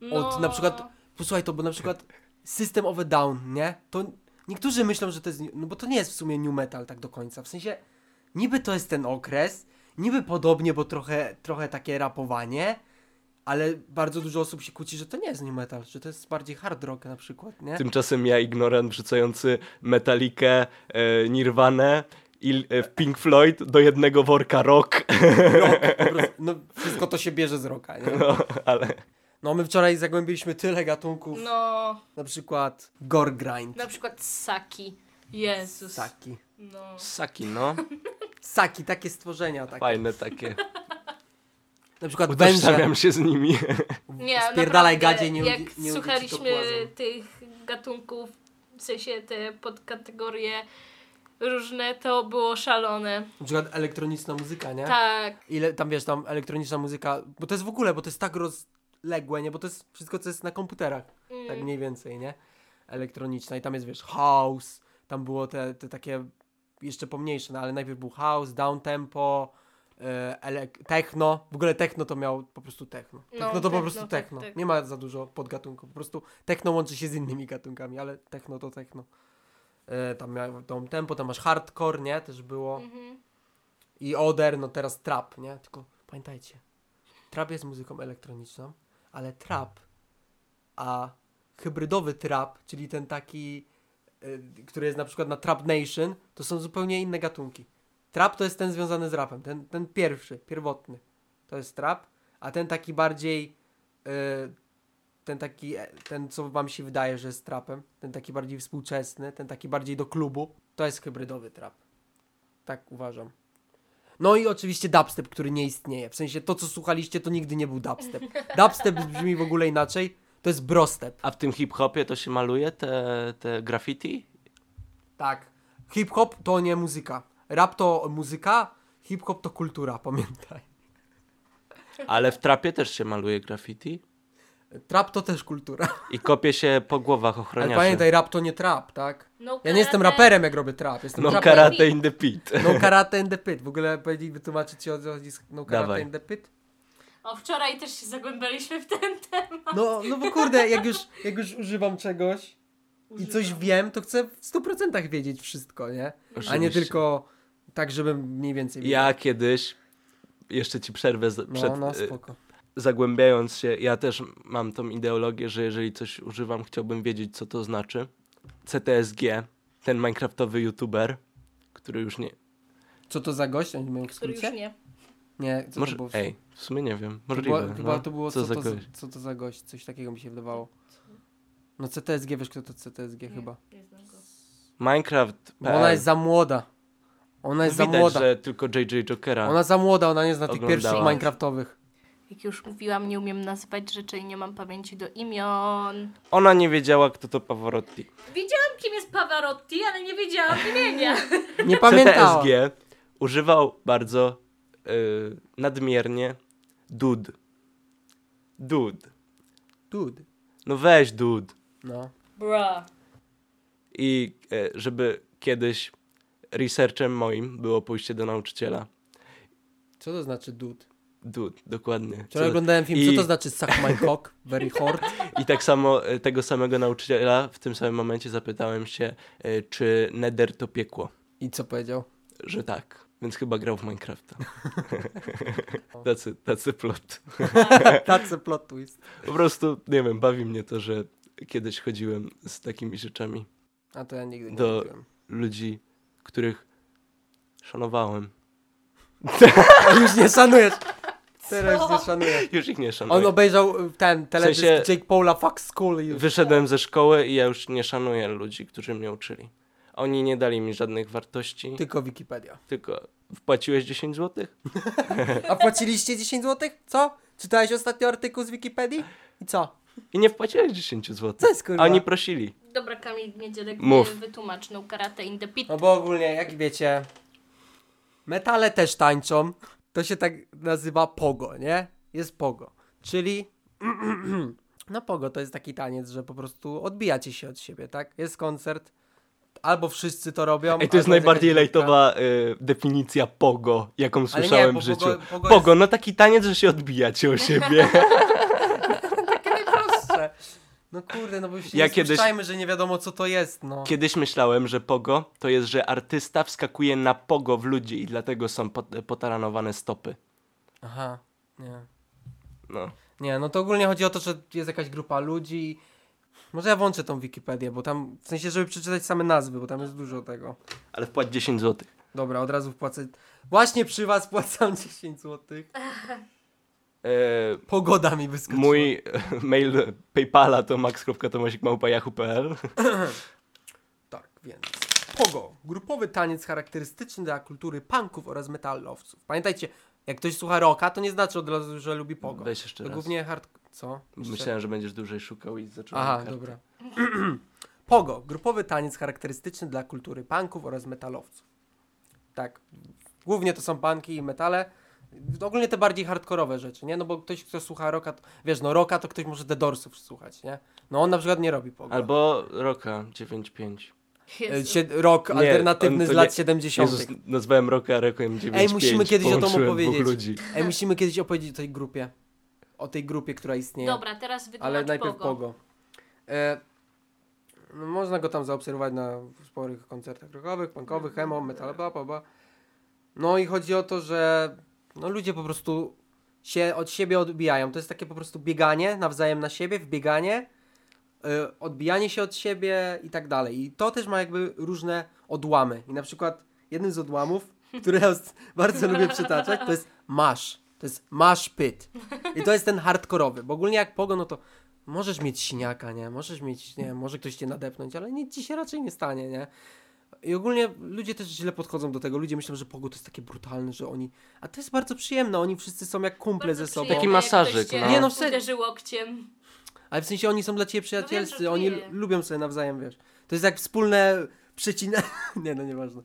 Speaker 1: No.
Speaker 2: od na przykład, posłuchaj to, bo na przykład System of a Down, nie? To niektórzy myślą, że to jest, no bo to nie jest w sumie new metal tak do końca, w sensie niby to jest ten okres, niby podobnie, bo trochę, trochę takie rapowanie, ale bardzo dużo osób się kłóci, że to nie jest new metal, że to jest bardziej hard rock na przykład, nie?
Speaker 3: Tymczasem ja, ignorant, wrzucający Metalikę, e, Nirvanę i e, Pink Floyd do jednego worka rock.
Speaker 2: Po prostu, no wszystko to się bierze z rocka, nie?
Speaker 3: No, ale
Speaker 2: No my wczoraj zagłębiliśmy tyle gatunków,
Speaker 1: No,
Speaker 2: na przykład gore grind,
Speaker 1: na przykład Saki. Jezus.
Speaker 2: saki.
Speaker 1: No.
Speaker 3: saki, no.
Speaker 2: Saki, takie stworzenia, takie.
Speaker 3: Fajne takie.
Speaker 2: Na przykład węże.
Speaker 3: Utożsamiam się z nimi.
Speaker 1: Nie,
Speaker 2: Spierdalaj
Speaker 1: naprawdę,
Speaker 2: gadzie, nie udi-
Speaker 1: Jak
Speaker 2: nie udici to
Speaker 1: słuchaliśmy
Speaker 2: płazem.
Speaker 1: tych gatunków w sensie te podkategorie różne, to było szalone.
Speaker 2: Na przykład elektroniczna muzyka, nie?
Speaker 1: Tak,
Speaker 2: Ile tam wiesz, tam elektroniczna muzyka, bo to jest w ogóle, bo to jest tak rozległe, nie? Bo to jest wszystko, co jest na komputerach, tak
Speaker 1: Mm.
Speaker 2: mniej więcej, nie? Elektroniczna i tam jest, wiesz, house, tam było te, te takie jeszcze pomniejsze, no ale najpierw był house, down tempo, e, elek- techno, w ogóle techno to miał po prostu techno.
Speaker 1: No,
Speaker 2: Techno to
Speaker 1: techno,
Speaker 2: po prostu
Speaker 1: tak,
Speaker 2: techno.
Speaker 1: tak.
Speaker 2: Nie ma za dużo podgatunków, po prostu techno łączy się z innymi gatunkami, ale techno to techno. E, tam miał down tempo, tam masz hardcore, nie? Też było.
Speaker 1: mhm.
Speaker 2: I Oder, no teraz trap, nie? Tylko pamiętajcie, trap jest muzyką elektroniczną, ale trap, a hybrydowy trap, czyli ten taki, y, który jest na przykład na Trap Nation, to są zupełnie inne gatunki. Trap to jest ten związany z rapem, ten, ten pierwszy, pierwotny, to jest trap, a ten taki bardziej, y, ten taki, e, ten co wam się wydaje, że jest trapem, ten taki bardziej współczesny, ten taki bardziej do klubu, to jest hybrydowy trap. Tak uważam. No i oczywiście dubstep, który nie istnieje. W sensie to, co słuchaliście, to nigdy nie był dubstep. Dubstep brzmi w ogóle inaczej. To jest brostep.
Speaker 3: A w tym hip-hopie to się maluje te, te graffiti?
Speaker 2: Tak. Hip-hop to nie muzyka. Rap to muzyka, hip-hop to kultura, pamiętaj.
Speaker 3: Ale w trapie też się maluje graffiti
Speaker 2: Trap to też kultura.
Speaker 3: i kopie się po głowach
Speaker 2: Ale
Speaker 3: ochroniarzy.
Speaker 2: pamiętaj, rap to nie trap, tak?
Speaker 1: No,
Speaker 2: Ja
Speaker 1: karate-
Speaker 2: nie jestem raperem, jak robię trap. Jestem
Speaker 3: No
Speaker 2: raperem.
Speaker 3: karate in the pit.
Speaker 2: No karate and the pit. W ogóle powiedzieli, wytłumaczyć ci o co chodzi z no karate
Speaker 3: Dawaj.
Speaker 2: and the pit.
Speaker 1: O, wczoraj też się zagłębialiśmy w ten temat.
Speaker 2: No, no bo kurde, jak już, jak już używam czegoś i coś wiem, to chcę w 100% wiedzieć wszystko, nie? A nie
Speaker 3: Oczywiście.
Speaker 2: tylko tak, żebym mniej więcej wiedział.
Speaker 3: Ja kiedyś, jeszcze ci przerwę z, przed,
Speaker 2: No, no,
Speaker 3: y,
Speaker 2: spoko.
Speaker 3: zagłębiając się, ja też mam tą ideologię, że jeżeli coś używam, chciałbym wiedzieć, co to znaczy. CTSG, ten minecraftowy youtuber, który już nie...
Speaker 2: Co to za gość? Oni mają w
Speaker 1: Który już
Speaker 2: skrócie?
Speaker 1: nie.
Speaker 2: Nie, co
Speaker 3: może,
Speaker 2: to było? W...
Speaker 3: Ej, w sumie nie wiem,
Speaker 2: to
Speaker 3: możliwe.
Speaker 2: było, chyba
Speaker 3: no.
Speaker 2: to było
Speaker 3: co
Speaker 2: co,
Speaker 3: za
Speaker 2: to, za-
Speaker 3: gość.
Speaker 2: co to za gość, coś takiego mi się wydawało. No CTSG, wiesz kto to CTSG chyba.
Speaker 1: Nie znam go.
Speaker 3: Minecraft. e,
Speaker 2: Bo ona jest za młoda. Ona jest za
Speaker 3: No widać,
Speaker 2: młoda.
Speaker 3: że tylko JJ Jokera.
Speaker 2: Ona za młoda, ona nie zna tych
Speaker 3: Oglądała.
Speaker 2: pierwszych Minecraftowych.
Speaker 1: Jak już mówiłam, nie umiem nazywać rzeczy i nie mam pamięci do imion.
Speaker 3: Ona nie wiedziała, kto to Pavarotti.
Speaker 1: Wiedziałam, kim jest Pavarotti, ale nie wiedziałam imienia.
Speaker 2: Nie pamiętała.
Speaker 3: CTSG używał bardzo y, nadmiernie dud. Dud.
Speaker 2: Dude.
Speaker 3: No weź dud.
Speaker 2: No.
Speaker 1: Bra.
Speaker 3: I e, żeby kiedyś researchem moim było pójście do nauczyciela.
Speaker 2: Co to znaczy dude?
Speaker 3: Dud, dokładnie.
Speaker 2: Wczoraj
Speaker 3: Co-
Speaker 2: oglądałem film,
Speaker 3: I-
Speaker 2: co to znaczy suck my cock, very hard.
Speaker 3: I tak samo e, tego samego nauczyciela w tym samym momencie zapytałem się, e, czy nether to piekło.
Speaker 2: I co powiedział?
Speaker 3: że tak. Więc chyba grał w Minecrafta. tacy, tacy plot.
Speaker 2: Tacy plot twist.
Speaker 3: Po prostu, nie wiem, bawi mnie to, że kiedyś chodziłem z takimi rzeczami
Speaker 2: A to ja nigdy nie
Speaker 3: Do-
Speaker 2: Do...
Speaker 3: ludzi, których szanowałem.
Speaker 2: Już nie szanujesz. Teraz już nie szanujesz.
Speaker 3: Już ich nie
Speaker 2: On
Speaker 3: szanuję.
Speaker 2: obejrzał y, ten teledysk
Speaker 3: sensie-
Speaker 2: Jake Paula Fuck School i już.
Speaker 3: Wyszedłem ze szkoły i ja już nie szanuję ludzi, którzy mnie uczyli. Oni nie dali mi żadnych wartości,
Speaker 2: Tylko Wikipedia.
Speaker 3: tylko wpłaciłeś 10 zł?
Speaker 2: A płaciliście 10 zł? Co? Czytałeś ostatnio artykuł z Wikipedii? I co?
Speaker 3: I nie wpłaciłeś 10
Speaker 2: Co
Speaker 3: zł.
Speaker 2: jest kurwa?
Speaker 3: Oni prosili.
Speaker 1: Dobra, Kamil Niedzielek,
Speaker 3: Mów.
Speaker 1: wytłumacz no karate in the pit.
Speaker 2: No bo ogólnie, jak wiecie, metale też tańczą. To się tak nazywa pogo, nie? Jest pogo. Czyli. No pogo to jest taki taniec, że po prostu odbijacie się od siebie, tak? Jest koncert. Albo wszyscy to robią.
Speaker 3: Ej, to jest
Speaker 2: albo
Speaker 3: najbardziej
Speaker 2: jakaś grupka.
Speaker 3: lejtowa y, definicja pogo, jaką
Speaker 2: Ale nie,
Speaker 3: słyszałem
Speaker 2: bo
Speaker 3: w życiu.
Speaker 2: pogo-
Speaker 3: Pogo,
Speaker 2: pogo
Speaker 3: no taki taniec, że się odbijacie o siebie.
Speaker 2: Najprostsze. No kurde, no bo już się
Speaker 3: Ja
Speaker 2: nie
Speaker 3: kiedyś-
Speaker 2: spuszczajmy, że nie wiadomo co to jest, no.
Speaker 3: Kiedyś myślałem, że pogo to jest, że artysta wskakuje na pogo w ludzi i dlatego są pot potaranowane stopy.
Speaker 2: Aha, nie.
Speaker 3: No.
Speaker 2: Nie, no to ogólnie chodzi o to, że jest jakaś grupa ludzi. Może ja włączę tą Wikipedię, bo tam, w sensie, żeby przeczytać same nazwy, bo tam jest dużo tego.
Speaker 3: Ale wpłać 10 zł.
Speaker 2: Dobra, od razu wpłacę. Właśnie przy was płacam 10 zł. Pogoda mi wyskoczyła.
Speaker 3: E, mój mail Paypala to max.tomasikmałpajachu.pl
Speaker 2: Tak, więc. Pogo. Grupowy taniec charakterystyczny dla kultury punków oraz metalowców. Pamiętajcie, jak ktoś słucha rocka, to nie znaczy od razu, że lubi pogo.
Speaker 3: Weź jeszcze
Speaker 2: to
Speaker 3: raz.
Speaker 2: głównie hard... Co? Jeszcze-
Speaker 3: Myślałem, że będziesz dłużej szukał i zacząłem
Speaker 2: Aha,
Speaker 3: karty.
Speaker 2: dobra. Pogo, grupowy taniec charakterystyczny dla kultury punków oraz metalowców. Tak, głównie to są punki i metale. Ogólnie te bardziej hardkorowe rzeczy, nie? No bo ktoś, kto słucha rocka, to- wiesz, no rocka to ktoś może The Doorsów słuchać, nie? No on na przykład nie robi pogo.
Speaker 3: Albo Roka 95.
Speaker 2: E,
Speaker 1: Jezu.
Speaker 2: Sie- rok
Speaker 3: Nie,
Speaker 2: alternatywny
Speaker 3: on to
Speaker 2: z lat
Speaker 3: nie-
Speaker 2: 70.
Speaker 3: Jezus, nazwałem Roka Requiem 95.
Speaker 2: Ej, musimy kiedyś o tym
Speaker 3: Połączyłem dwóch
Speaker 2: opowiedzieć.
Speaker 3: ludzi.
Speaker 2: Ej, musimy kiedyś opowiedzieć o tej grupie. O tej grupie, która istnieje.
Speaker 1: Dobra, teraz wytłumacz
Speaker 2: Ale najpierw
Speaker 1: Pogo.
Speaker 2: Pogo. E, no, można go tam zaobserwować na sporych koncertach rockowych, punkowych,
Speaker 1: Mhm.
Speaker 2: emo, metal, bla, bla, bla. No i chodzi o to, że no, ludzie po prostu się od siebie odbijają. To jest takie po prostu bieganie nawzajem na siebie, wbieganie, e, odbijanie się od siebie i tak dalej. I to też ma jakby różne odłamy. I na przykład jednym z odłamów, który ja s- bardzo lubię przytaczać, to jest masz. To jest masz pyt. I to jest ten hardkorowy, bo ogólnie jak pogo, no to możesz mieć siniaka, nie? Możesz mieć, nie wiem, może ktoś cię nadepnąć, ale nic ci się raczej nie stanie, nie? I ogólnie ludzie też źle podchodzą do tego. Ludzie myślą, że pogo to jest takie brutalne, że oni... A to jest bardzo przyjemne, oni wszyscy są jak kumple
Speaker 1: Bardzo
Speaker 2: ze sobą.
Speaker 1: przyjemnie,
Speaker 3: Taki
Speaker 1: jak
Speaker 3: masażyk,
Speaker 1: ktoś cię
Speaker 3: no.
Speaker 2: Nie, no w sensie-
Speaker 1: Uderzy łokciem.
Speaker 2: Ale w sensie oni są dla ciebie
Speaker 1: No
Speaker 2: przyjacielscy,
Speaker 1: wiem,
Speaker 2: oni
Speaker 1: że
Speaker 2: l-
Speaker 1: czuję.
Speaker 2: lubią sobie nawzajem, wiesz. To jest jak wspólne przecinanie. Nie, no nieważne.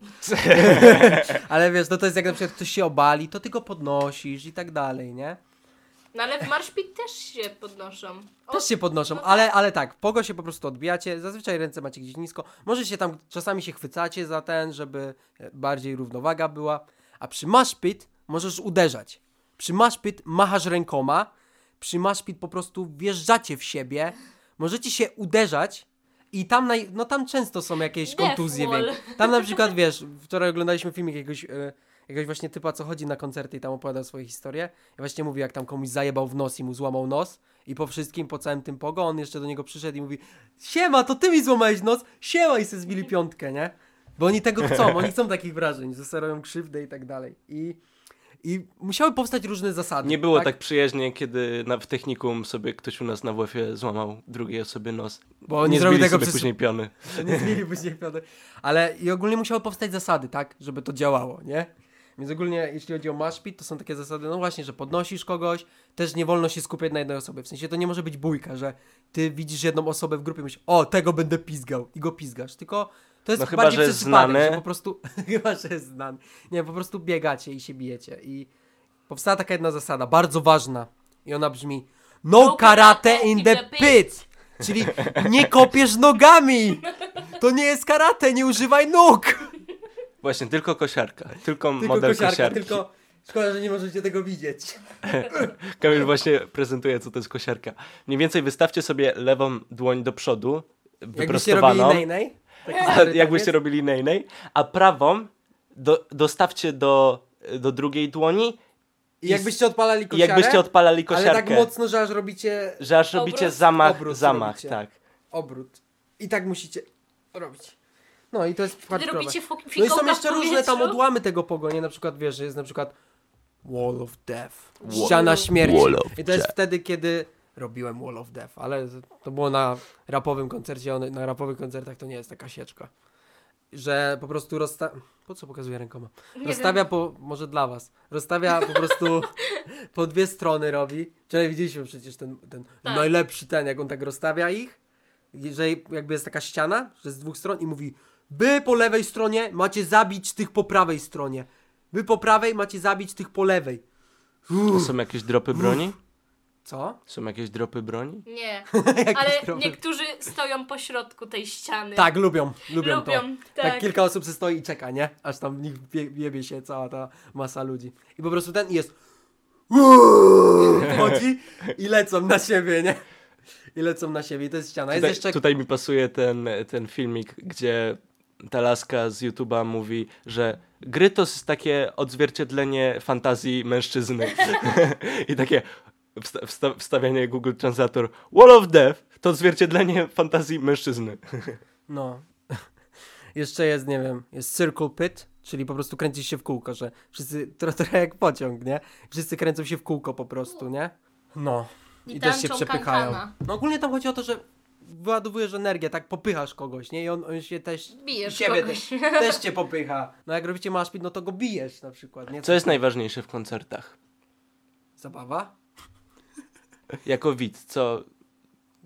Speaker 2: Ale wiesz, no to jest jak na przykład ktoś się obali, to ty go podnosisz i tak dalej, nie?
Speaker 1: No ale w marszpit też się podnoszą. O,
Speaker 2: Też się podnoszą,
Speaker 1: no
Speaker 2: ale, ale tak, pogo się po prostu odbijacie, zazwyczaj ręce macie gdzieś nisko, może się tam czasami się chwycacie za ten, żeby e, bardziej równowaga była, a przy maszpit możesz uderzać. Przy maszpit machasz rękoma, przy maszpit po prostu wjeżdżacie w siebie, możecie się uderzać i tam, naj, no tam często są jakieś
Speaker 1: Death
Speaker 2: kontuzje.
Speaker 1: wall.
Speaker 2: większe. Tam na przykład, wiesz, wczoraj oglądaliśmy filmik jakiegoś, e, jakiegoś właśnie typa, co chodzi na koncerty i tam opowiadał swoje historie. I właśnie mówi, jak tam komuś zajebał w nos i mu złamał nos. I po wszystkim, po całym tym pogo, on jeszcze do niego przyszedł i mówi Siema, to ty mi złamałeś nos! Siema! I se zbili piątkę, nie? Bo oni tego chcą, oni chcą takich wrażeń, że se robią krzywdę i tak dalej. I, i musiały powstać różne zasady.
Speaker 3: Nie było tak, przyjaźnie, kiedy na, w technikum sobie ktoś u nas na WF-ie złamał drugiej osobie nos.
Speaker 2: Bo oni
Speaker 3: nie
Speaker 2: zrobił
Speaker 3: zrobili
Speaker 2: tego
Speaker 3: sobie
Speaker 2: przez-
Speaker 3: później piony.
Speaker 2: nie zmieli później piątek. Ale i ogólnie musiały powstać zasady, tak? Żeby to działało, nie? Więc ogólnie, jeśli chodzi o mashpit, to są takie zasady, no właśnie, że podnosisz kogoś, też nie wolno się skupiać na jednej osobie. W sensie to nie może być bójka, że ty widzisz jedną osobę w grupie i myślisz, o, tego będę pizgał i go pizgasz, tylko to jest
Speaker 3: No chyba,
Speaker 2: bardziej
Speaker 3: że
Speaker 2: przez
Speaker 3: jest
Speaker 2: przypadek,
Speaker 3: znany.
Speaker 2: że po prostu, chyba, że jest znany. Nie, po prostu biegacie i się bijecie i powstała taka jedna zasada, bardzo ważna i ona brzmi No,
Speaker 1: No
Speaker 2: karate, in the pit! Czyli nie kopiesz nogami! To nie jest karate, nie używaj nóg!
Speaker 3: Właśnie, tylko kosiarka. Tylko,
Speaker 2: Tylko
Speaker 3: model
Speaker 2: kosiarka,
Speaker 3: kosiarki.
Speaker 2: tylko... Szkoda, że nie możecie tego widzieć.
Speaker 3: Kamil właśnie prezentuje, co to jest kosiarka. Mniej więcej wystawcie sobie lewą dłoń do przodu,
Speaker 2: Jakbyście robili Tak,
Speaker 3: wyprostowaną.
Speaker 2: nej-nej? taki
Speaker 3: A
Speaker 2: stary
Speaker 3: jakbyście
Speaker 2: taniec.
Speaker 3: robili nejnej, a prawą do, dostawcie do, do drugiej dłoni
Speaker 2: I jakbyście odpalali
Speaker 3: i
Speaker 2: kosiarę,
Speaker 3: jakbyście odpalali
Speaker 2: ale tak
Speaker 3: kosiarkę,
Speaker 2: mocno, że aż robicie
Speaker 3: że aż robicie
Speaker 1: Obrót?
Speaker 3: zamach,
Speaker 2: Obrót
Speaker 3: zamach,
Speaker 2: robicie.
Speaker 3: tak.
Speaker 2: obrót. I tak musicie robić. No i to jest
Speaker 1: Wtedy
Speaker 2: hardcore.
Speaker 1: robicie fok-
Speaker 2: No i
Speaker 1: fikołka
Speaker 2: są
Speaker 1: w
Speaker 2: jeszcze różne tam
Speaker 1: powietrzu.
Speaker 2: odłamy tego pogonie, na przykład wiesz, że jest na przykład Wall of Death,
Speaker 3: Wall-
Speaker 2: ściana śmierci.
Speaker 3: Wall of
Speaker 2: I to jest
Speaker 3: Death.
Speaker 2: wtedy, kiedy robiłem Wall of Death, ale to było na rapowym koncercie, one, na rapowych koncertach to nie jest taka sieczka. Że po prostu rozsta... Po co pokazuję rękoma? Rozstawia po... Może dla was. Rozstawia po prostu po dwie strony robi. Wczoraj widzieliśmy przecież ten, ten
Speaker 1: Tak.
Speaker 2: najlepszy ten, jak on tak rozstawia ich że jakby jest taka ściana, że z dwóch stron i mówi Wy po lewej stronie macie zabić tych po prawej stronie. Wy po prawej macie zabić tych po lewej. Uff,
Speaker 3: Są jakieś dropy broni?
Speaker 2: co?
Speaker 3: Są jakieś dropy broni?
Speaker 1: Nie,
Speaker 2: Jakiś
Speaker 1: ale
Speaker 2: problem.
Speaker 1: niektórzy stoją po środku tej ściany.
Speaker 2: Tak, lubią, lubią, to.
Speaker 1: Lubią,
Speaker 2: Tak.
Speaker 1: tak.
Speaker 2: kilka osób się stoi i czeka, nie? Aż tam w nich bie- jebie się cała ta masa ludzi. I po prostu ten jest Uuu, wchodzi i lecą na siebie, nie? I lecą na siebie i to jest ściana. Jest
Speaker 3: Tutaj,
Speaker 2: jeszcze...
Speaker 3: tutaj mi pasuje ten, ten filmik, gdzie ta laska z YouTube'a mówi, że gry to jest takie odzwierciedlenie fantazji mężczyzny. I takie wsta- wsta- wstawianie Google Translator Wall of Death to odzwierciedlenie fantazji mężczyzny.
Speaker 2: No. Jeszcze jest, nie wiem, jest circle pit, czyli po prostu kręcisz się w kółko, że wszyscy, tro- trochę jak pociąg, nie? Wszyscy kręcą się w kółko po prostu, nie? No.
Speaker 1: I
Speaker 2: I, też się
Speaker 1: tańczą
Speaker 2: przepychają.
Speaker 1: kankana.
Speaker 2: No ogólnie tam chodzi o to, że wyładowujesz energię, tak popychasz kogoś, nie? I on, on się też...
Speaker 1: Bijesz
Speaker 2: ciebie
Speaker 1: kogoś.
Speaker 2: Też, też cię popycha. No jak robicie maszpit, no to go bijesz na przykład, nie?
Speaker 3: Co jest najważniejsze w koncertach?
Speaker 2: Zabawa?
Speaker 3: Jako widz, co...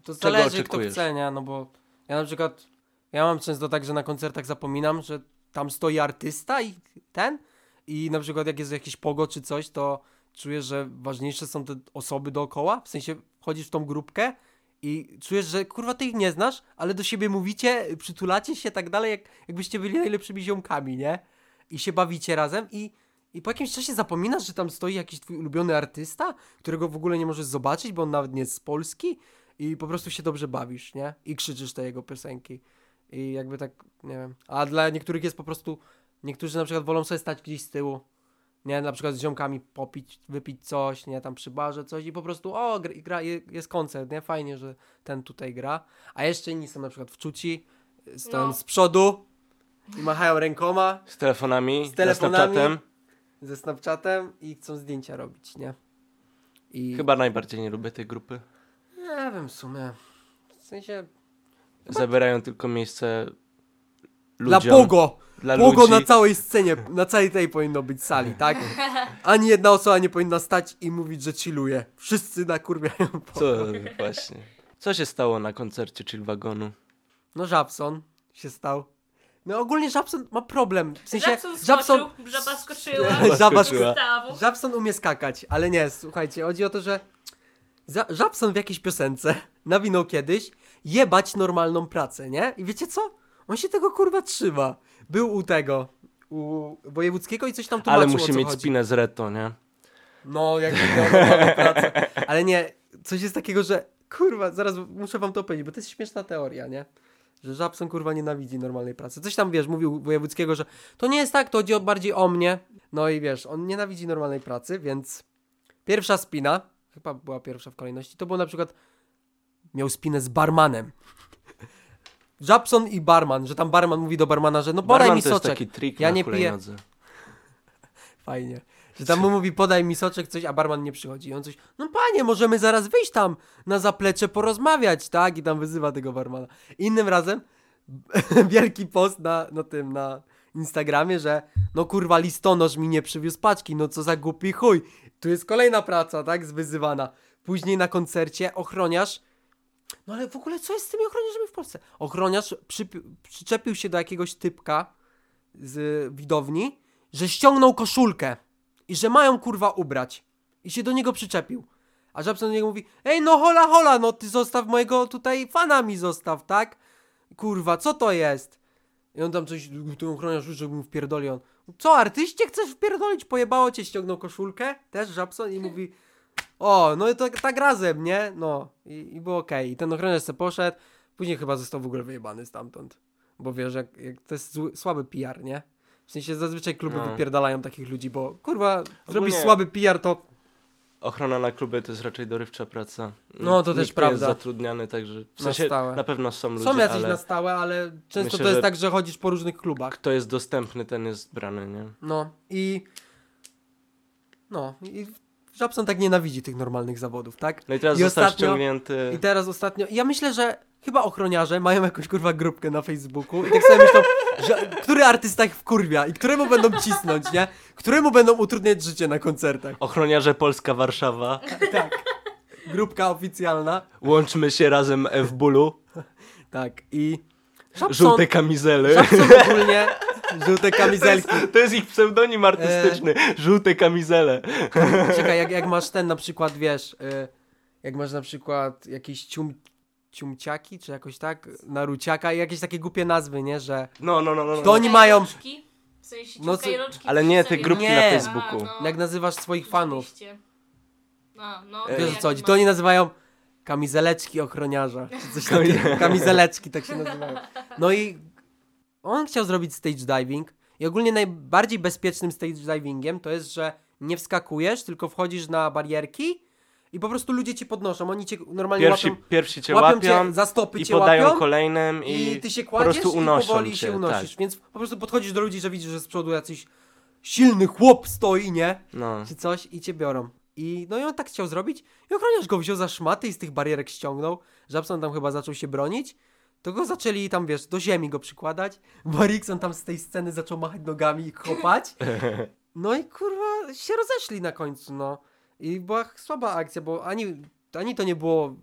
Speaker 2: To
Speaker 3: Czego
Speaker 2: zależy kto
Speaker 3: oczekujesz?
Speaker 2: chce, nie? No bo ja na przykład Ja mam często tak, że na koncertach zapominam, że tam stoi artysta i ten. I na przykład jak jest jakiś pogo czy coś, to czujesz, że ważniejsze są te osoby dookoła. W sensie wchodzisz w tą grupkę i czujesz, że kurwa ty ich nie znasz, ale do siebie mówicie, przytulacie się tak dalej, jak, jakbyście byli najlepszymi ziomkami, nie? I się bawicie razem i, i po jakimś czasie zapominasz, że tam stoi jakiś twój ulubiony artysta, którego w ogóle nie możesz zobaczyć, bo on nawet nie jest z Polski i po prostu się dobrze bawisz, nie? I krzyczysz te jego piosenki. I jakby tak, nie wiem. A dla niektórych jest po prostu, niektórzy na przykład wolą sobie stać gdzieś z tyłu, nie? Na przykład z ziomkami popić, wypić coś, nie? Tam przy barze coś i po prostu, o, gra, gra je- jest koncert, nie? Fajnie, że ten tutaj gra. A jeszcze inni są na przykład wczuci, y, stoją
Speaker 1: No.
Speaker 2: z przodu i machają rękoma
Speaker 3: Z telefonami,
Speaker 2: Z telefonami.
Speaker 3: z Snapchatem.
Speaker 2: ze Snapchatem i chcą zdjęcia robić, nie? I
Speaker 3: Chyba najbardziej nie lubię tej grupy.
Speaker 2: nie wiem w sumie. W sensie.
Speaker 3: Zabierają tylko miejsce
Speaker 2: Dla
Speaker 3: ludziom.
Speaker 2: Pogo!
Speaker 3: Dla
Speaker 2: Pogo
Speaker 3: ludzi.
Speaker 2: na całej scenie, na całej tej powinno być sali, tak? Ani jedna osoba nie powinna stać i mówić, że chilluje. Wszyscy nakurwiają Pogo.
Speaker 3: Co właśnie. Co się stało na koncercie Chill Wagonu?
Speaker 2: No Żabson się stał. No ogólnie Żabson ma problem. W sensie,
Speaker 1: Żabson skoczył, żaba skoczyła.
Speaker 2: Żaba
Speaker 3: skoczyła.
Speaker 2: skoczyła.
Speaker 1: Stawu.
Speaker 2: Żabson umie skakać, ale nie, słuchajcie, chodzi o to, że za- Żabson w jakiejś piosence nawinął kiedyś jebać normalną pracę, nie? I wiecie co? On się tego kurwa trzyma. Był u tego, u wojewódzkiego i coś tam tłumaczył,
Speaker 3: Ale musi
Speaker 2: o co
Speaker 3: mieć
Speaker 2: chodzi.
Speaker 3: spinę z Reto, nie?
Speaker 2: No, jak miał normalną pracę. Ale nie, coś jest takiego, że kurwa, zaraz muszę wam to powiedzieć, bo to jest śmieszna teoria, nie? Że Żabson kurwa nienawidzi normalnej pracy. Coś tam wiesz, mówił wojewódzkiego, że to nie jest tak, to chodzi o- bardziej o mnie. No i wiesz, on nienawidzi normalnej pracy, więc pierwsza spina, chyba była pierwsza w kolejności, to było na przykład miał spinę z barmanem. Żabson i barman, że tam barman mówi do barmana, że no podaj
Speaker 3: Barman
Speaker 2: mi
Speaker 3: to jest
Speaker 2: soczek.
Speaker 3: taki trik
Speaker 2: Ja
Speaker 3: na
Speaker 2: nie piję.
Speaker 3: hulajnodze.
Speaker 2: Fajnie. Że tam mu mówi, podaj mi soczek, coś, a barman nie przychodzi. I on coś, no panie, możemy zaraz wyjść tam na zaplecze, porozmawiać, tak? I tam wyzywa tego barmana. Innym razem wielki post na, na tym, na Instagramie, że no kurwa, listonosz mi nie przywiózł paczki, no co za głupi chuj. Tu jest kolejna praca, tak? Zwyzywana. Później na koncercie ochroniarz no ale w ogóle co jest z tymi ochroniarzami w Polsce? Ochroniarz przypi- przyczepił się do jakiegoś typka z widowni, że ściągnął koszulkę i że mają kurwa ubrać. I się do niego przyczepił. A Żabson do niego mówi, ej no hola hola, no ty zostaw mojego tutaj fana mi zostaw, tak? Kurwa, co to jest? I on tam coś, ten ochroniarz już, żeby mu wpierdoli on. Co, artyście chcesz wpierdolić? Pojebało cię, ściągnął koszulkę, też Żabson i mówi, o, no i tak, tak razem, nie? No i, i było okej. I ten ochroniarz se poszedł, później chyba został w ogóle wyjebany stamtąd. Bo wiesz, jak, jak to jest zły, słaby PR, nie? W sensie zazwyczaj kluby
Speaker 3: No.
Speaker 2: wypierdalają takich ludzi, bo kurwa, zrobisz
Speaker 3: Ogólnie-
Speaker 2: słaby PR, to
Speaker 3: Ochrona na klubie to jest raczej dorywcza praca.
Speaker 2: No, to
Speaker 3: Nikt
Speaker 2: też
Speaker 3: nie
Speaker 2: prawda.
Speaker 3: jest zatrudniany, także w
Speaker 2: Na
Speaker 3: sensie
Speaker 2: stałe.
Speaker 3: na pewno są ludzie,
Speaker 2: są jacyś
Speaker 3: ale
Speaker 2: na stałe, ale często
Speaker 3: myślę,
Speaker 2: to jest
Speaker 3: że-
Speaker 2: tak, że chodzisz po różnych klubach.
Speaker 3: kto jest dostępny, ten jest brany, nie?
Speaker 2: No i. No i Żabson tak nienawidzi tych normalnych zawodów, tak?
Speaker 3: No i teraz
Speaker 2: I
Speaker 3: został
Speaker 2: ostatnio-
Speaker 3: ściągnięty...
Speaker 2: I teraz ostatnio. Ja myślę, że chyba ochroniarze mają jakąś kurwa grupkę na Facebooku i tak sobie myślą, że który artysta ich wkurwia i któremu będą cisnąć, nie? Któremu będą utrudniać życie na koncertach.
Speaker 3: Ochroniarze Polska Warszawa.
Speaker 2: Tak. Grupka oficjalna.
Speaker 3: Łączmy się razem w bólu.
Speaker 2: Tak. I. Żabson,
Speaker 3: Żółte kamizele.
Speaker 2: Żabson ogólnie. Żółte kamizelki.
Speaker 3: To jest ich pseudonim artystyczny.
Speaker 2: E-
Speaker 3: Żółte kamizele.
Speaker 2: Czekaj, jak, jak masz ten na przykład, wiesz, y, jak masz na przykład jakieś cium, ciumciaki, czy jakoś tak, naruciaka i jakieś takie głupie nazwy, nie, że
Speaker 3: No, no, no, no.
Speaker 2: To
Speaker 3: no.
Speaker 2: oni mają-
Speaker 1: W sensie
Speaker 2: No
Speaker 1: no,
Speaker 2: co-
Speaker 3: Ale nie, te grupki
Speaker 2: Nie.
Speaker 3: na Facebooku.
Speaker 1: A, no.
Speaker 2: jak nazywasz swoich fanów,
Speaker 1: Oczywiście. A, no,
Speaker 3: Wiesz,
Speaker 2: wiesz
Speaker 1: wiem,
Speaker 2: o co chodzi,
Speaker 1: ma-
Speaker 2: to oni nazywają kamizeleczki ochroniarza, czy coś takiego, kamizeleczki, tak się nazywają. No i on chciał zrobić stage diving i ogólnie najbardziej bezpiecznym stage divingiem to jest, że nie wskakujesz, tylko wchodzisz na barierki i po prostu ludzie cię podnoszą, oni cię normalnie
Speaker 3: Pierwsi,
Speaker 2: łapią...
Speaker 3: pierwsi cię
Speaker 2: łapią
Speaker 3: łapią,
Speaker 2: cię, za stopy
Speaker 3: i
Speaker 2: cię
Speaker 3: podają
Speaker 2: łapią
Speaker 3: kolejnym i,
Speaker 2: i, ty się
Speaker 3: po
Speaker 2: kładziesz
Speaker 3: prostu
Speaker 2: i
Speaker 3: unoszą
Speaker 2: powoli
Speaker 3: cię,
Speaker 2: się unosisz,
Speaker 3: Tak.
Speaker 2: więc po prostu podchodzisz do ludzi, że widzisz, że z przodu jacyś silny chłop stoi, nie?
Speaker 3: No.
Speaker 2: Czy coś i cię biorą. I no i on tak chciał zrobić i ochroniarz go wziął za szmaty i z tych barierek ściągnął. Żabson tam chyba zaczął się bronić. To go zaczęli tam, wiesz, do ziemi go przykładać. Barikson tam z tej sceny zaczął machać nogami i kopać. No i kurwa się rozeszli na końcu, no. I była ch- słaba akcja, bo ani, ani to nie było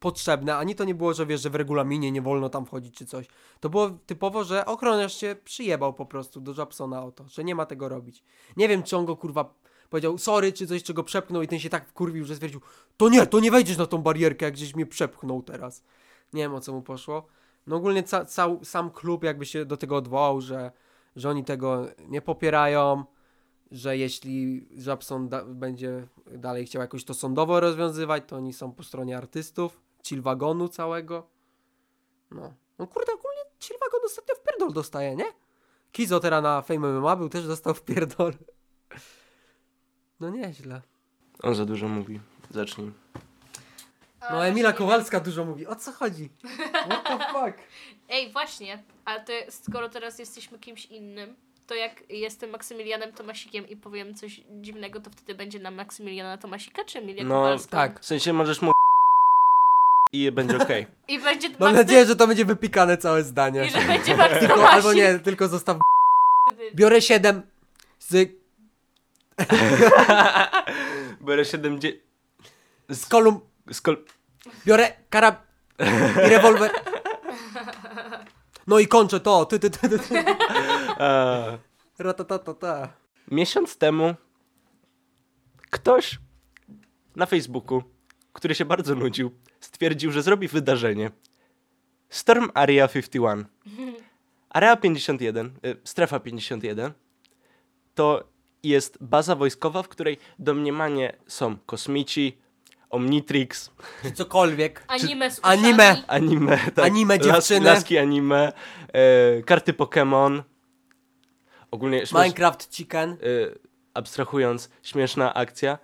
Speaker 2: potrzebne, ani to nie było, że wiesz, że w regulaminie nie wolno tam wchodzić czy coś. To było typowo, że ochroniarz się przyjebał po prostu do Japsona o to, że nie ma tego robić. Nie wiem, czy on go kurwa powiedział sorry, czy coś, czego przepchnął i ten się tak wkurwił, że stwierdził, to nie, to nie wejdziesz na tą barierkę, jak gdzieś mnie przepchnął teraz. Nie wiem, o co mu poszło. No ogólnie ca- cał- sam klub jakby się do tego odwołał, że, że oni tego nie popierają, że jeśli Japson da- będzie dalej chciał jakoś to sądowo rozwiązywać, to oni są po stronie artystów, chill wagonu całego. No, no kurde, ogólnie chill wagon ostatnio w pierdol dostaje, nie? Kizo teraz na Fame MMA był, też dostał w pierdol. No nieźle.
Speaker 3: On za dużo mówi. Zacznij.
Speaker 2: No Emila Kowalska dużo mówi, o co chodzi? What the fuck?
Speaker 1: Ej, właśnie, a to skoro teraz jesteśmy kimś innym, to jak jestem Maksymilianem Tomasikiem i powiem coś dziwnego, to wtedy będzie na Maksymiliana Tomasika czy Emilia
Speaker 3: No,
Speaker 1: Kowalską?
Speaker 2: Tak.
Speaker 3: W sensie możesz mu i będzie okej.
Speaker 1: I będzie
Speaker 2: Mam
Speaker 1: Maksy-
Speaker 2: nadzieję, że to będzie wypikane całe zdanie.
Speaker 1: I że No będzie Max
Speaker 2: Tylko, albo
Speaker 1: Tomasik.
Speaker 2: nie, tylko zostaw. Biorę 7 z,
Speaker 3: Biorę 7 dzie...
Speaker 2: z kolumn.
Speaker 3: z kol...
Speaker 2: Biorę karab i rewolwer. No i kończę to. Ty, ty, ty, ty, ty.
Speaker 3: Eee,
Speaker 2: Ratatatata.
Speaker 3: Miesiąc temu ktoś na Facebooku, który się bardzo nudził, stwierdził, że zrobi wydarzenie. Storm Area 51. Area 51, y, strefa 51, to jest baza wojskowa, w której domniemanie są kosmici, Omnitrix,
Speaker 2: Czy cokolwiek.
Speaker 1: Anime z uszami.
Speaker 2: Anime.
Speaker 3: anime, tak,
Speaker 2: Anime dziewczyny.
Speaker 3: Las, laski anime, e, karty Pokémon. Ogólnie śmiesz,
Speaker 2: Minecraft Chicken.
Speaker 3: y, abstrahując, śmieszna akcja.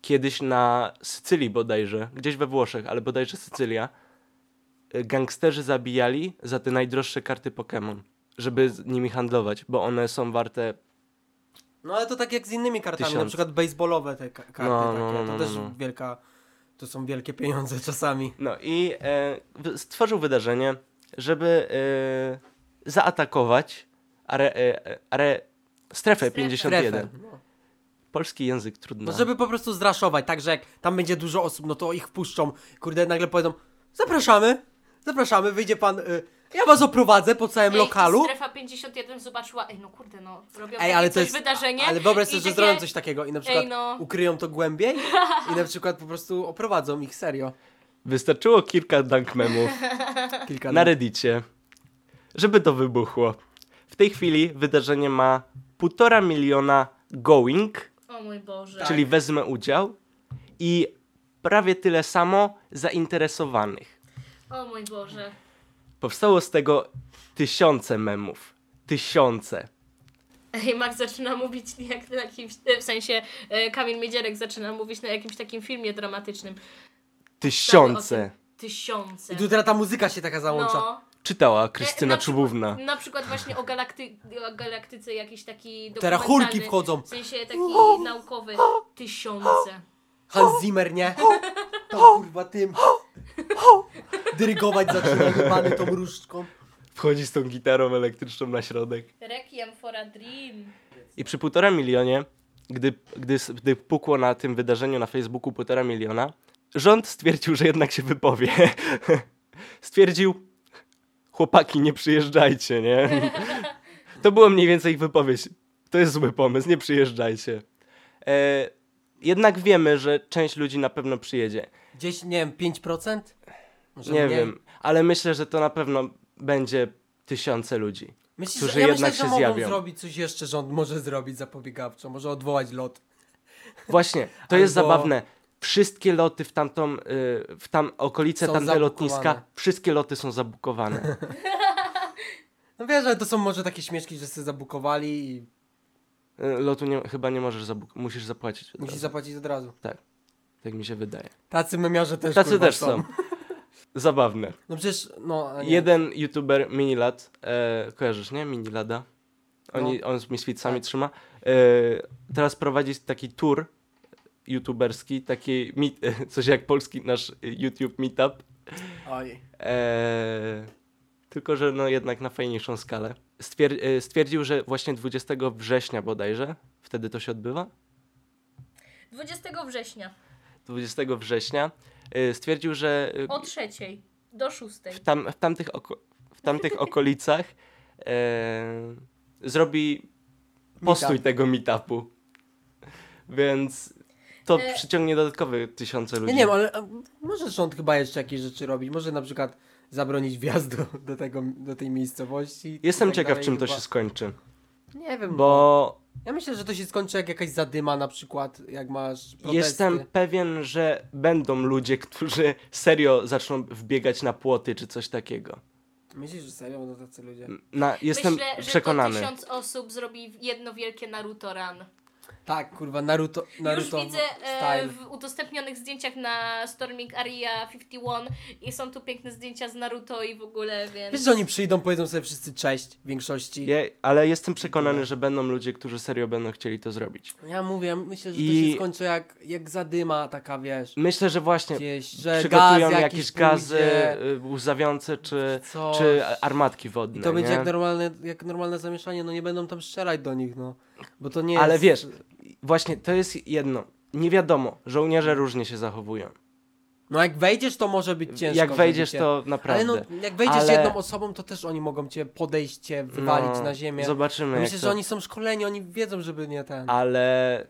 Speaker 3: Kiedyś na Sycylii bodajże, gdzieś we Włoszech, ale bodajże Sycylia, y, gangsterzy zabijali za te najdroższe karty Pokémon, żeby z nimi handlować, bo one są warte.
Speaker 2: No ale to tak jak z innymi kartami, na
Speaker 3: Tysiąc.
Speaker 2: przykład baseballowe te ka- karty.
Speaker 3: No,
Speaker 2: takie.
Speaker 3: no, no,
Speaker 2: to
Speaker 3: no,
Speaker 2: też
Speaker 3: no.
Speaker 2: wielka. To są wielkie pieniądze czasami.
Speaker 3: No i e, wy- stworzył wydarzenie, żeby e, zaatakować are, e, are, strefę
Speaker 1: Strefę.
Speaker 3: 51.
Speaker 2: Trefę. No.
Speaker 3: Polski język trudny.
Speaker 2: No żeby po prostu zraszować, tak że jak tam będzie dużo osób, no to ich wpuszczą. Kurde, nagle powiedzą, zapraszamy, zapraszamy, wyjdzie pan, y, ja was oprowadzę po całym
Speaker 1: Ej,
Speaker 2: lokalu.
Speaker 1: Strefa 51 zobaczyła, ej no kurde no, robią
Speaker 2: Ej, ale
Speaker 1: takie
Speaker 2: to
Speaker 1: coś
Speaker 2: jest,
Speaker 1: wydarzenie.
Speaker 2: ale wyobraź
Speaker 1: i
Speaker 2: sobie, że
Speaker 1: takie-
Speaker 2: zrobią coś takiego i na przykład
Speaker 1: no.
Speaker 2: ukryją to głębiej i na przykład po prostu oprowadzą ich, serio.
Speaker 3: Wystarczyło kilka dunk memów.
Speaker 2: Kilka
Speaker 3: na
Speaker 2: dni.
Speaker 3: Reddicie, żeby to wybuchło. W tej chwili wydarzenie ma 1,5 miliona going,
Speaker 1: O mój Boże.
Speaker 3: czyli wezmę udział, i prawie tyle samo zainteresowanych.
Speaker 1: O mój Boże.
Speaker 3: Powstało z tego tysiące memów.
Speaker 1: Tak,
Speaker 3: Tysiące.
Speaker 1: Ej, Max zaczyna mówić jak na jakimś, w sensie e, Kamil Miedzierek zaczyna mówić na jakimś takim filmie dramatycznym.
Speaker 3: Tysiące.
Speaker 1: Tak, o tym Tysiące.
Speaker 2: I tu teraz ta muzyka się taka załącza.
Speaker 1: No.
Speaker 3: Czytała
Speaker 1: E,
Speaker 3: Krystyna
Speaker 1: przykład-
Speaker 3: Czubówna.
Speaker 1: Na przykład właśnie o, galakty, o galaktyce jakiś taki
Speaker 2: Teraz
Speaker 1: dokumentalny,
Speaker 2: chórki wchodzą.
Speaker 1: W sensie taki naukowy. Tysiące.
Speaker 2: Hans Zimmer, nie? To kurwa tym. Dyrygować zaczyna jebany tą różdżką.
Speaker 3: Wchodzi z tą gitarą elektryczną na środek.
Speaker 1: Requiem for a dream.
Speaker 3: I przy półtora milionie, gdy, gdy, s- gdy pukło na tym wydarzeniu na Facebooku półtora miliona, rząd stwierdził, że jednak się wypowie. Stwierdził, chłopaki, nie przyjeżdżajcie, nie? To było mniej więcej ich wypowiedź. To jest zły pomysł, nie przyjeżdżajcie. E, jednak wiemy, że część ludzi na pewno przyjedzie.
Speaker 2: Gdzieś, nie wiem, 5%? Może
Speaker 3: Nie
Speaker 2: mniej?
Speaker 3: wiem, ale myślę, że to na pewno będzie tysiące ludzi.
Speaker 2: Myślisz,
Speaker 3: którzy
Speaker 2: że, ja
Speaker 3: jednak
Speaker 2: myślę, że
Speaker 3: się
Speaker 2: mogą
Speaker 3: zjawią.
Speaker 2: zrobić coś jeszcze, rząd może zrobić zapobiegawczo, może odwołać lot.
Speaker 3: Właśnie, to jest
Speaker 2: Albo-
Speaker 3: zabawne. Wszystkie loty w tamtą, y, w tam okolice
Speaker 2: Są
Speaker 3: tamte
Speaker 2: zabukowane.
Speaker 3: lotniska, wszystkie loty są zabukowane.
Speaker 2: No wiesz, ale to są może takie śmieszki, że sobie zabukowali i
Speaker 3: Y, Lotu nie, chyba nie możesz zabukować, musisz zapłacić. od
Speaker 2: musisz
Speaker 3: razu.
Speaker 2: zapłacić od razu.
Speaker 3: tak mi się wydaje.
Speaker 2: Tacy memiarze też
Speaker 3: Tacy
Speaker 2: kurwa,
Speaker 3: też są. Zabawne.
Speaker 2: No przecież, no... a nie.
Speaker 3: Jeden youtuber Minilat, e, kojarzysz, nie? Minilada. Oni, On z Misfitsami
Speaker 2: Tak.
Speaker 3: trzyma. E, teraz prowadzi taki tour youtuberski, taki meet, coś jak polski nasz YouTube Meetup.
Speaker 2: Oj.
Speaker 3: Eee, tylko, że no jednak na fajniejszą skalę. Stwier- e, stwierdził, że właśnie 20 września bodajże, wtedy to się odbywa,
Speaker 1: 20 września.
Speaker 3: 20 września y, stwierdził, że y,
Speaker 1: O trzeciej do szóstej.
Speaker 3: w, tam, w, tamtych, oko- w tamtych okolicach e, zrobi postój
Speaker 2: Meetup.
Speaker 3: tego meetupu. Więc to
Speaker 1: E,
Speaker 3: przyciągnie dodatkowe tysiące
Speaker 2: Ja
Speaker 3: ludzi.
Speaker 2: nie wiem, ale e, może rząd chyba jeszcze jakieś rzeczy robić. Może na przykład zabronić wjazdu do, tego, do tej miejscowości.
Speaker 3: Jestem
Speaker 2: i tak
Speaker 3: ciekaw,
Speaker 2: dalej,
Speaker 3: czym to
Speaker 2: chyba.
Speaker 3: się skończy.
Speaker 2: Nie wiem, bo...
Speaker 3: Bo
Speaker 2: Ja myślę, że to się skończy jak jakaś zadyma na przykład, jak masz protesty.
Speaker 3: jestem pewien, że będą ludzie, którzy serio zaczną wbiegać na płoty czy coś takiego.
Speaker 2: Myślisz, że serio będą tacy ludzie?
Speaker 3: Na, jestem
Speaker 1: Myślę, że
Speaker 3: przekonany.
Speaker 1: to tysiąc osób zrobi jedno wielkie Naruto Run.
Speaker 2: Tak, kurwa, Naruto, Naruto
Speaker 1: Już widzę e,
Speaker 2: style.
Speaker 1: w udostępnionych zdjęciach na Storming Area 51 i są tu piękne zdjęcia z Naruto i w ogóle, więc...
Speaker 2: Wiesz, że oni przyjdą, powiedzą sobie wszyscy cześć w większości.
Speaker 3: Ja, ale jestem przekonany, że będą ludzie, którzy serio będą chcieli to zrobić.
Speaker 2: Ja mówię, myślę, że to
Speaker 3: I-
Speaker 2: się skończy jak, jak zadyma taka, wiesz,
Speaker 3: Myślę, że właśnie
Speaker 2: gdzieś, że gaz
Speaker 3: przygotują
Speaker 2: jakiś
Speaker 3: jakieś
Speaker 2: pójdzie.
Speaker 3: gazy y, łzawiące czy,
Speaker 2: Coś.
Speaker 3: czy armatki wodne.
Speaker 2: I to będzie
Speaker 3: nie?
Speaker 2: jak normalne, jak normalne zamieszanie, no nie będą tam strzelać do nich, no. Bo to nie jest...
Speaker 3: Ale wiesz, właśnie to jest jedno. Nie wiadomo, żołnierze
Speaker 2: Mm.
Speaker 3: różnie się zachowują.
Speaker 2: No jak wejdziesz, to może być ciężko.
Speaker 3: jak wejdziesz,
Speaker 2: żeby cię-
Speaker 3: to naprawdę.
Speaker 2: Ale no, jak wejdziesz z
Speaker 3: Ale- No,
Speaker 2: jedną osobą, to też oni mogą cię podejść, cię wywalić na ziemię.
Speaker 3: Zobaczymy.
Speaker 2: No
Speaker 3: jak
Speaker 2: myślę,
Speaker 3: to...
Speaker 2: że oni są szkoleni, oni wiedzą, żeby nie ten...
Speaker 3: Ale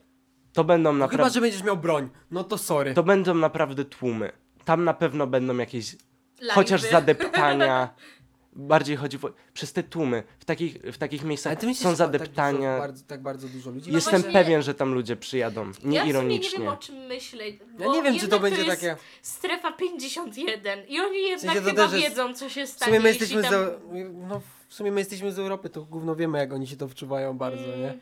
Speaker 3: to będą
Speaker 2: No chyba,
Speaker 3: naprawdę.
Speaker 2: że będziesz miał broń. No to sorry.
Speaker 3: To będą naprawdę tłumy. Tam na pewno będą jakieś
Speaker 1: Lajwy.
Speaker 3: chociaż zadeptania. Bardziej chodzi o... przez te tłumy. W takich, w takich
Speaker 2: Ale
Speaker 3: miejscach
Speaker 2: ty myślisz,
Speaker 3: są
Speaker 2: że Tak
Speaker 3: zadeptania.
Speaker 2: dużo, bardzo, tak bardzo dużo ludzi?
Speaker 1: No
Speaker 3: Jestem
Speaker 1: właśnie-
Speaker 3: pewien, że tam ludzie przyjadą.
Speaker 1: ja w sumie nie
Speaker 3: Nieironicznie.
Speaker 1: wiem o czym myśleć. Bo
Speaker 2: Ja nie wiem, czy
Speaker 1: jednak
Speaker 2: to będzie
Speaker 1: jest
Speaker 2: takie...
Speaker 1: Strefa 51 i oni jednak
Speaker 2: sensie to
Speaker 1: chyba
Speaker 2: też jest-
Speaker 1: wiedzą, co się
Speaker 2: W
Speaker 1: stanie.
Speaker 2: sumie my
Speaker 1: tak, jeśli
Speaker 2: jesteśmy
Speaker 1: tam...
Speaker 2: z... No, w sumie my jesteśmy z Europy, to gówno wiemy, jak oni się to wczuwają bardzo, nie?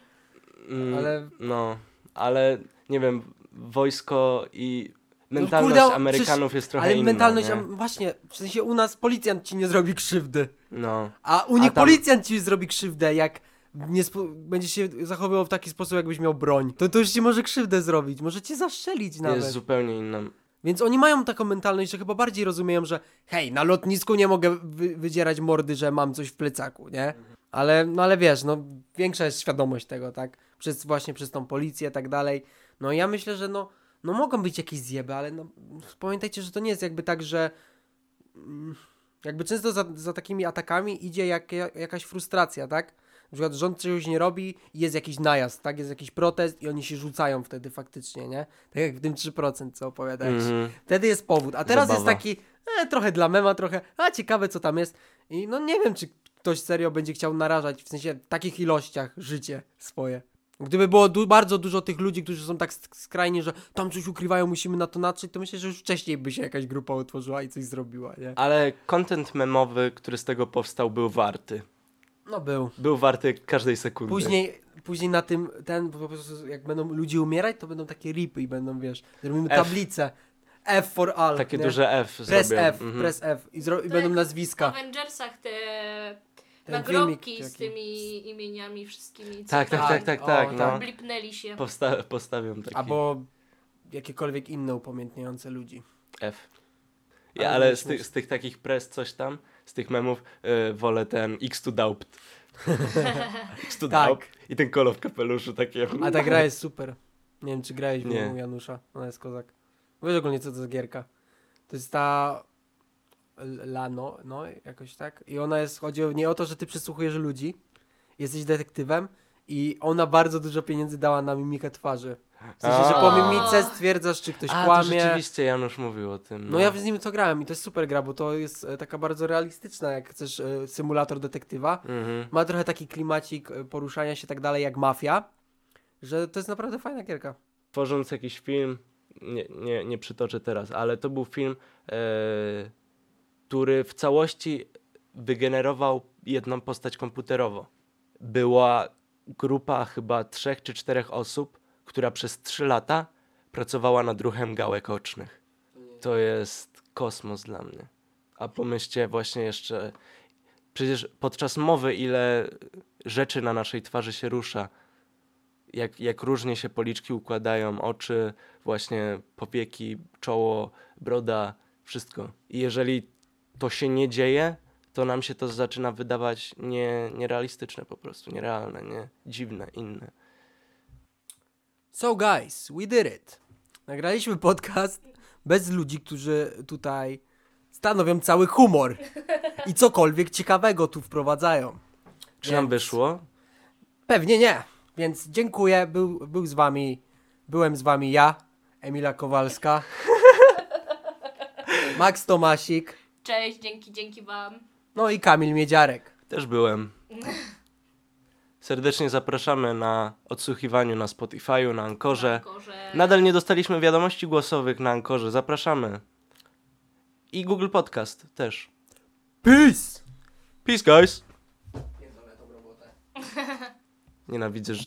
Speaker 3: Mm,
Speaker 2: Ale-
Speaker 3: No, ale nie wiem, wojsko i
Speaker 2: No
Speaker 3: mentalność
Speaker 2: kurde,
Speaker 3: Amerykanów
Speaker 2: przecież-
Speaker 3: jest trochę
Speaker 2: Ale
Speaker 3: inna.
Speaker 2: mentalność,
Speaker 3: nie?
Speaker 2: am- właśnie, w sensie u nas policjant ci nie zrobi krzywdy,
Speaker 3: No.
Speaker 2: a u nich
Speaker 3: tam-
Speaker 2: policjant ci zrobi krzywdę, jak nie spo- będziesz się zachowywał w taki sposób, jakbyś miał broń. To, to już ci może krzywdę zrobić, może cię zastrzelić nawet.
Speaker 3: Jest zupełnie inna.
Speaker 2: Więc oni mają taką mentalność, że chyba bardziej rozumieją, że hej, na lotnisku nie mogę wy wydzierać mordy, że mam coś w plecaku, nie? Ale, no ale wiesz, no większa jest świadomość tego, tak? Przez, właśnie przez tą policję i tak dalej. No i ja myślę, że no, no mogą być jakieś zjeby, ale no pamiętajcie, że to nie jest jakby tak, że mm, jakby często za, za takimi atakami idzie jak, jakaś frustracja, tak? Na przykład rząd czegoś nie robi i jest jakiś najazd, tak? Jest jakiś protest i oni się rzucają wtedy faktycznie, nie? Tak jak w tym 3%, co opowiadałeś.
Speaker 3: Mhm.
Speaker 2: Wtedy jest powód, a teraz jest
Speaker 3: Zabawa.
Speaker 2: taki e, trochę dla mema, trochę, a ciekawe co tam jest. I no nie wiem, czy ktoś serio będzie chciał narażać w sensie w takich ilościach życie swoje. Gdyby było du- bardzo dużo tych ludzi, którzy są tak s- skrajni, że tam coś ukrywają, musimy na to natrzeć, to myślę, że już wcześniej by się jakaś grupa utworzyła i coś zrobiła, nie?
Speaker 3: Ale content memowy, który z tego powstał, był warty.
Speaker 2: No był.
Speaker 3: Był warty każdej sekundy.
Speaker 2: Później, później na tym, ten, po prostu jak będą ludzie umierać, to będą takie ripy i będą, wiesz, zrobimy
Speaker 3: F.
Speaker 2: tablicę. F for all.
Speaker 3: Takie
Speaker 2: nie?
Speaker 3: duże F
Speaker 2: Press
Speaker 3: zrobię.
Speaker 2: F,
Speaker 3: Mhm.
Speaker 2: press F i, zro- i
Speaker 1: To
Speaker 2: będą
Speaker 1: jak
Speaker 2: nazwiska.
Speaker 1: W Avengersach te
Speaker 2: Ten
Speaker 1: nagrobki
Speaker 2: filmik
Speaker 1: z
Speaker 2: taki.
Speaker 1: tymi imieniami wszystkimi. co
Speaker 3: Tak, tak,
Speaker 1: tam
Speaker 3: tak, tak, tak.
Speaker 2: O,
Speaker 3: no.
Speaker 2: tak.
Speaker 1: Blipnęli się.
Speaker 3: Powsta- postawiam taki
Speaker 2: Albo jakiekolwiek inne upamiętniające ludzi.
Speaker 3: F.
Speaker 2: Ale
Speaker 3: Ja, ale z,
Speaker 2: byliśmy-
Speaker 3: ty- z tych takich press coś tam, z tych memów, y, wolę ten X to Daupt. X to
Speaker 2: Tak.
Speaker 3: Daupt. I ten kolor w kapeluszu takie.
Speaker 2: A ta gra jest super. Nie wiem, czy grałeś w
Speaker 3: Nie.
Speaker 2: nią Janusza. Ona jest kozak. Wiesz ogólnie, co to jest gierka. To jest ta... L- Lano, no jakoś tak. I ona jest, chodzi o, nie o to, że ty przesłuchujesz ludzi, jesteś detektywem i ona bardzo dużo pieniędzy dała na mimikę twarzy. W sensie, że
Speaker 3: A.
Speaker 2: po mimice stwierdzasz, czy ktoś
Speaker 3: A,
Speaker 2: kłamie.
Speaker 3: To rzeczywiście Janusz mówił o tym.
Speaker 2: No ja z nim to grałem i to jest super gra, bo to jest e, taka bardzo realistyczna, jak chcesz, e, symulator detektywa.
Speaker 3: Mhm.
Speaker 2: Ma trochę taki klimacik e, poruszania się tak dalej jak mafia, że to jest naprawdę fajna gierka.
Speaker 3: Tworząc jakiś film, nie, nie, nie przytoczę teraz, ale to był film, e, który w całości wygenerował jedną postać komputerowo. Była grupa chyba trzech czy czterech osób, która przez trzy lata pracowała nad ruchem gałek ocznych. To jest kosmos dla mnie. A pomyślcie właśnie jeszcze, przecież podczas mowy ile rzeczy na naszej twarzy się rusza, jak, jak różnie się policzki układają, oczy, właśnie powieki, czoło, broda, wszystko. I jeżeli to się nie dzieje, to nam się to zaczyna wydawać nie, nierealistyczne po prostu, nierealne, nie? Dziwne, inne.
Speaker 2: So guys, we did it. Nagraliśmy podcast bez ludzi, którzy tutaj stanowią cały humor i cokolwiek ciekawego tu wprowadzają.
Speaker 3: Czy nam
Speaker 2: Więc-
Speaker 3: wyszło?
Speaker 2: Pewnie nie. Więc dziękuję. Był, był z wami. Byłem z wami ja, Emila Kowalska. Max Tomasik.
Speaker 1: Cześć, dzięki, dzięki wam.
Speaker 2: No i Kamil Miedziarek.
Speaker 3: Też byłem. Serdecznie zapraszamy na odsłuchiwaniu na Spotify'u, na Ankorze.
Speaker 1: Korze.
Speaker 3: Nadal nie dostaliśmy wiadomości głosowych na Ankorze. Zapraszamy. I Google Podcast też.
Speaker 2: Peace!
Speaker 3: Peace, guys! Nienawidzę, że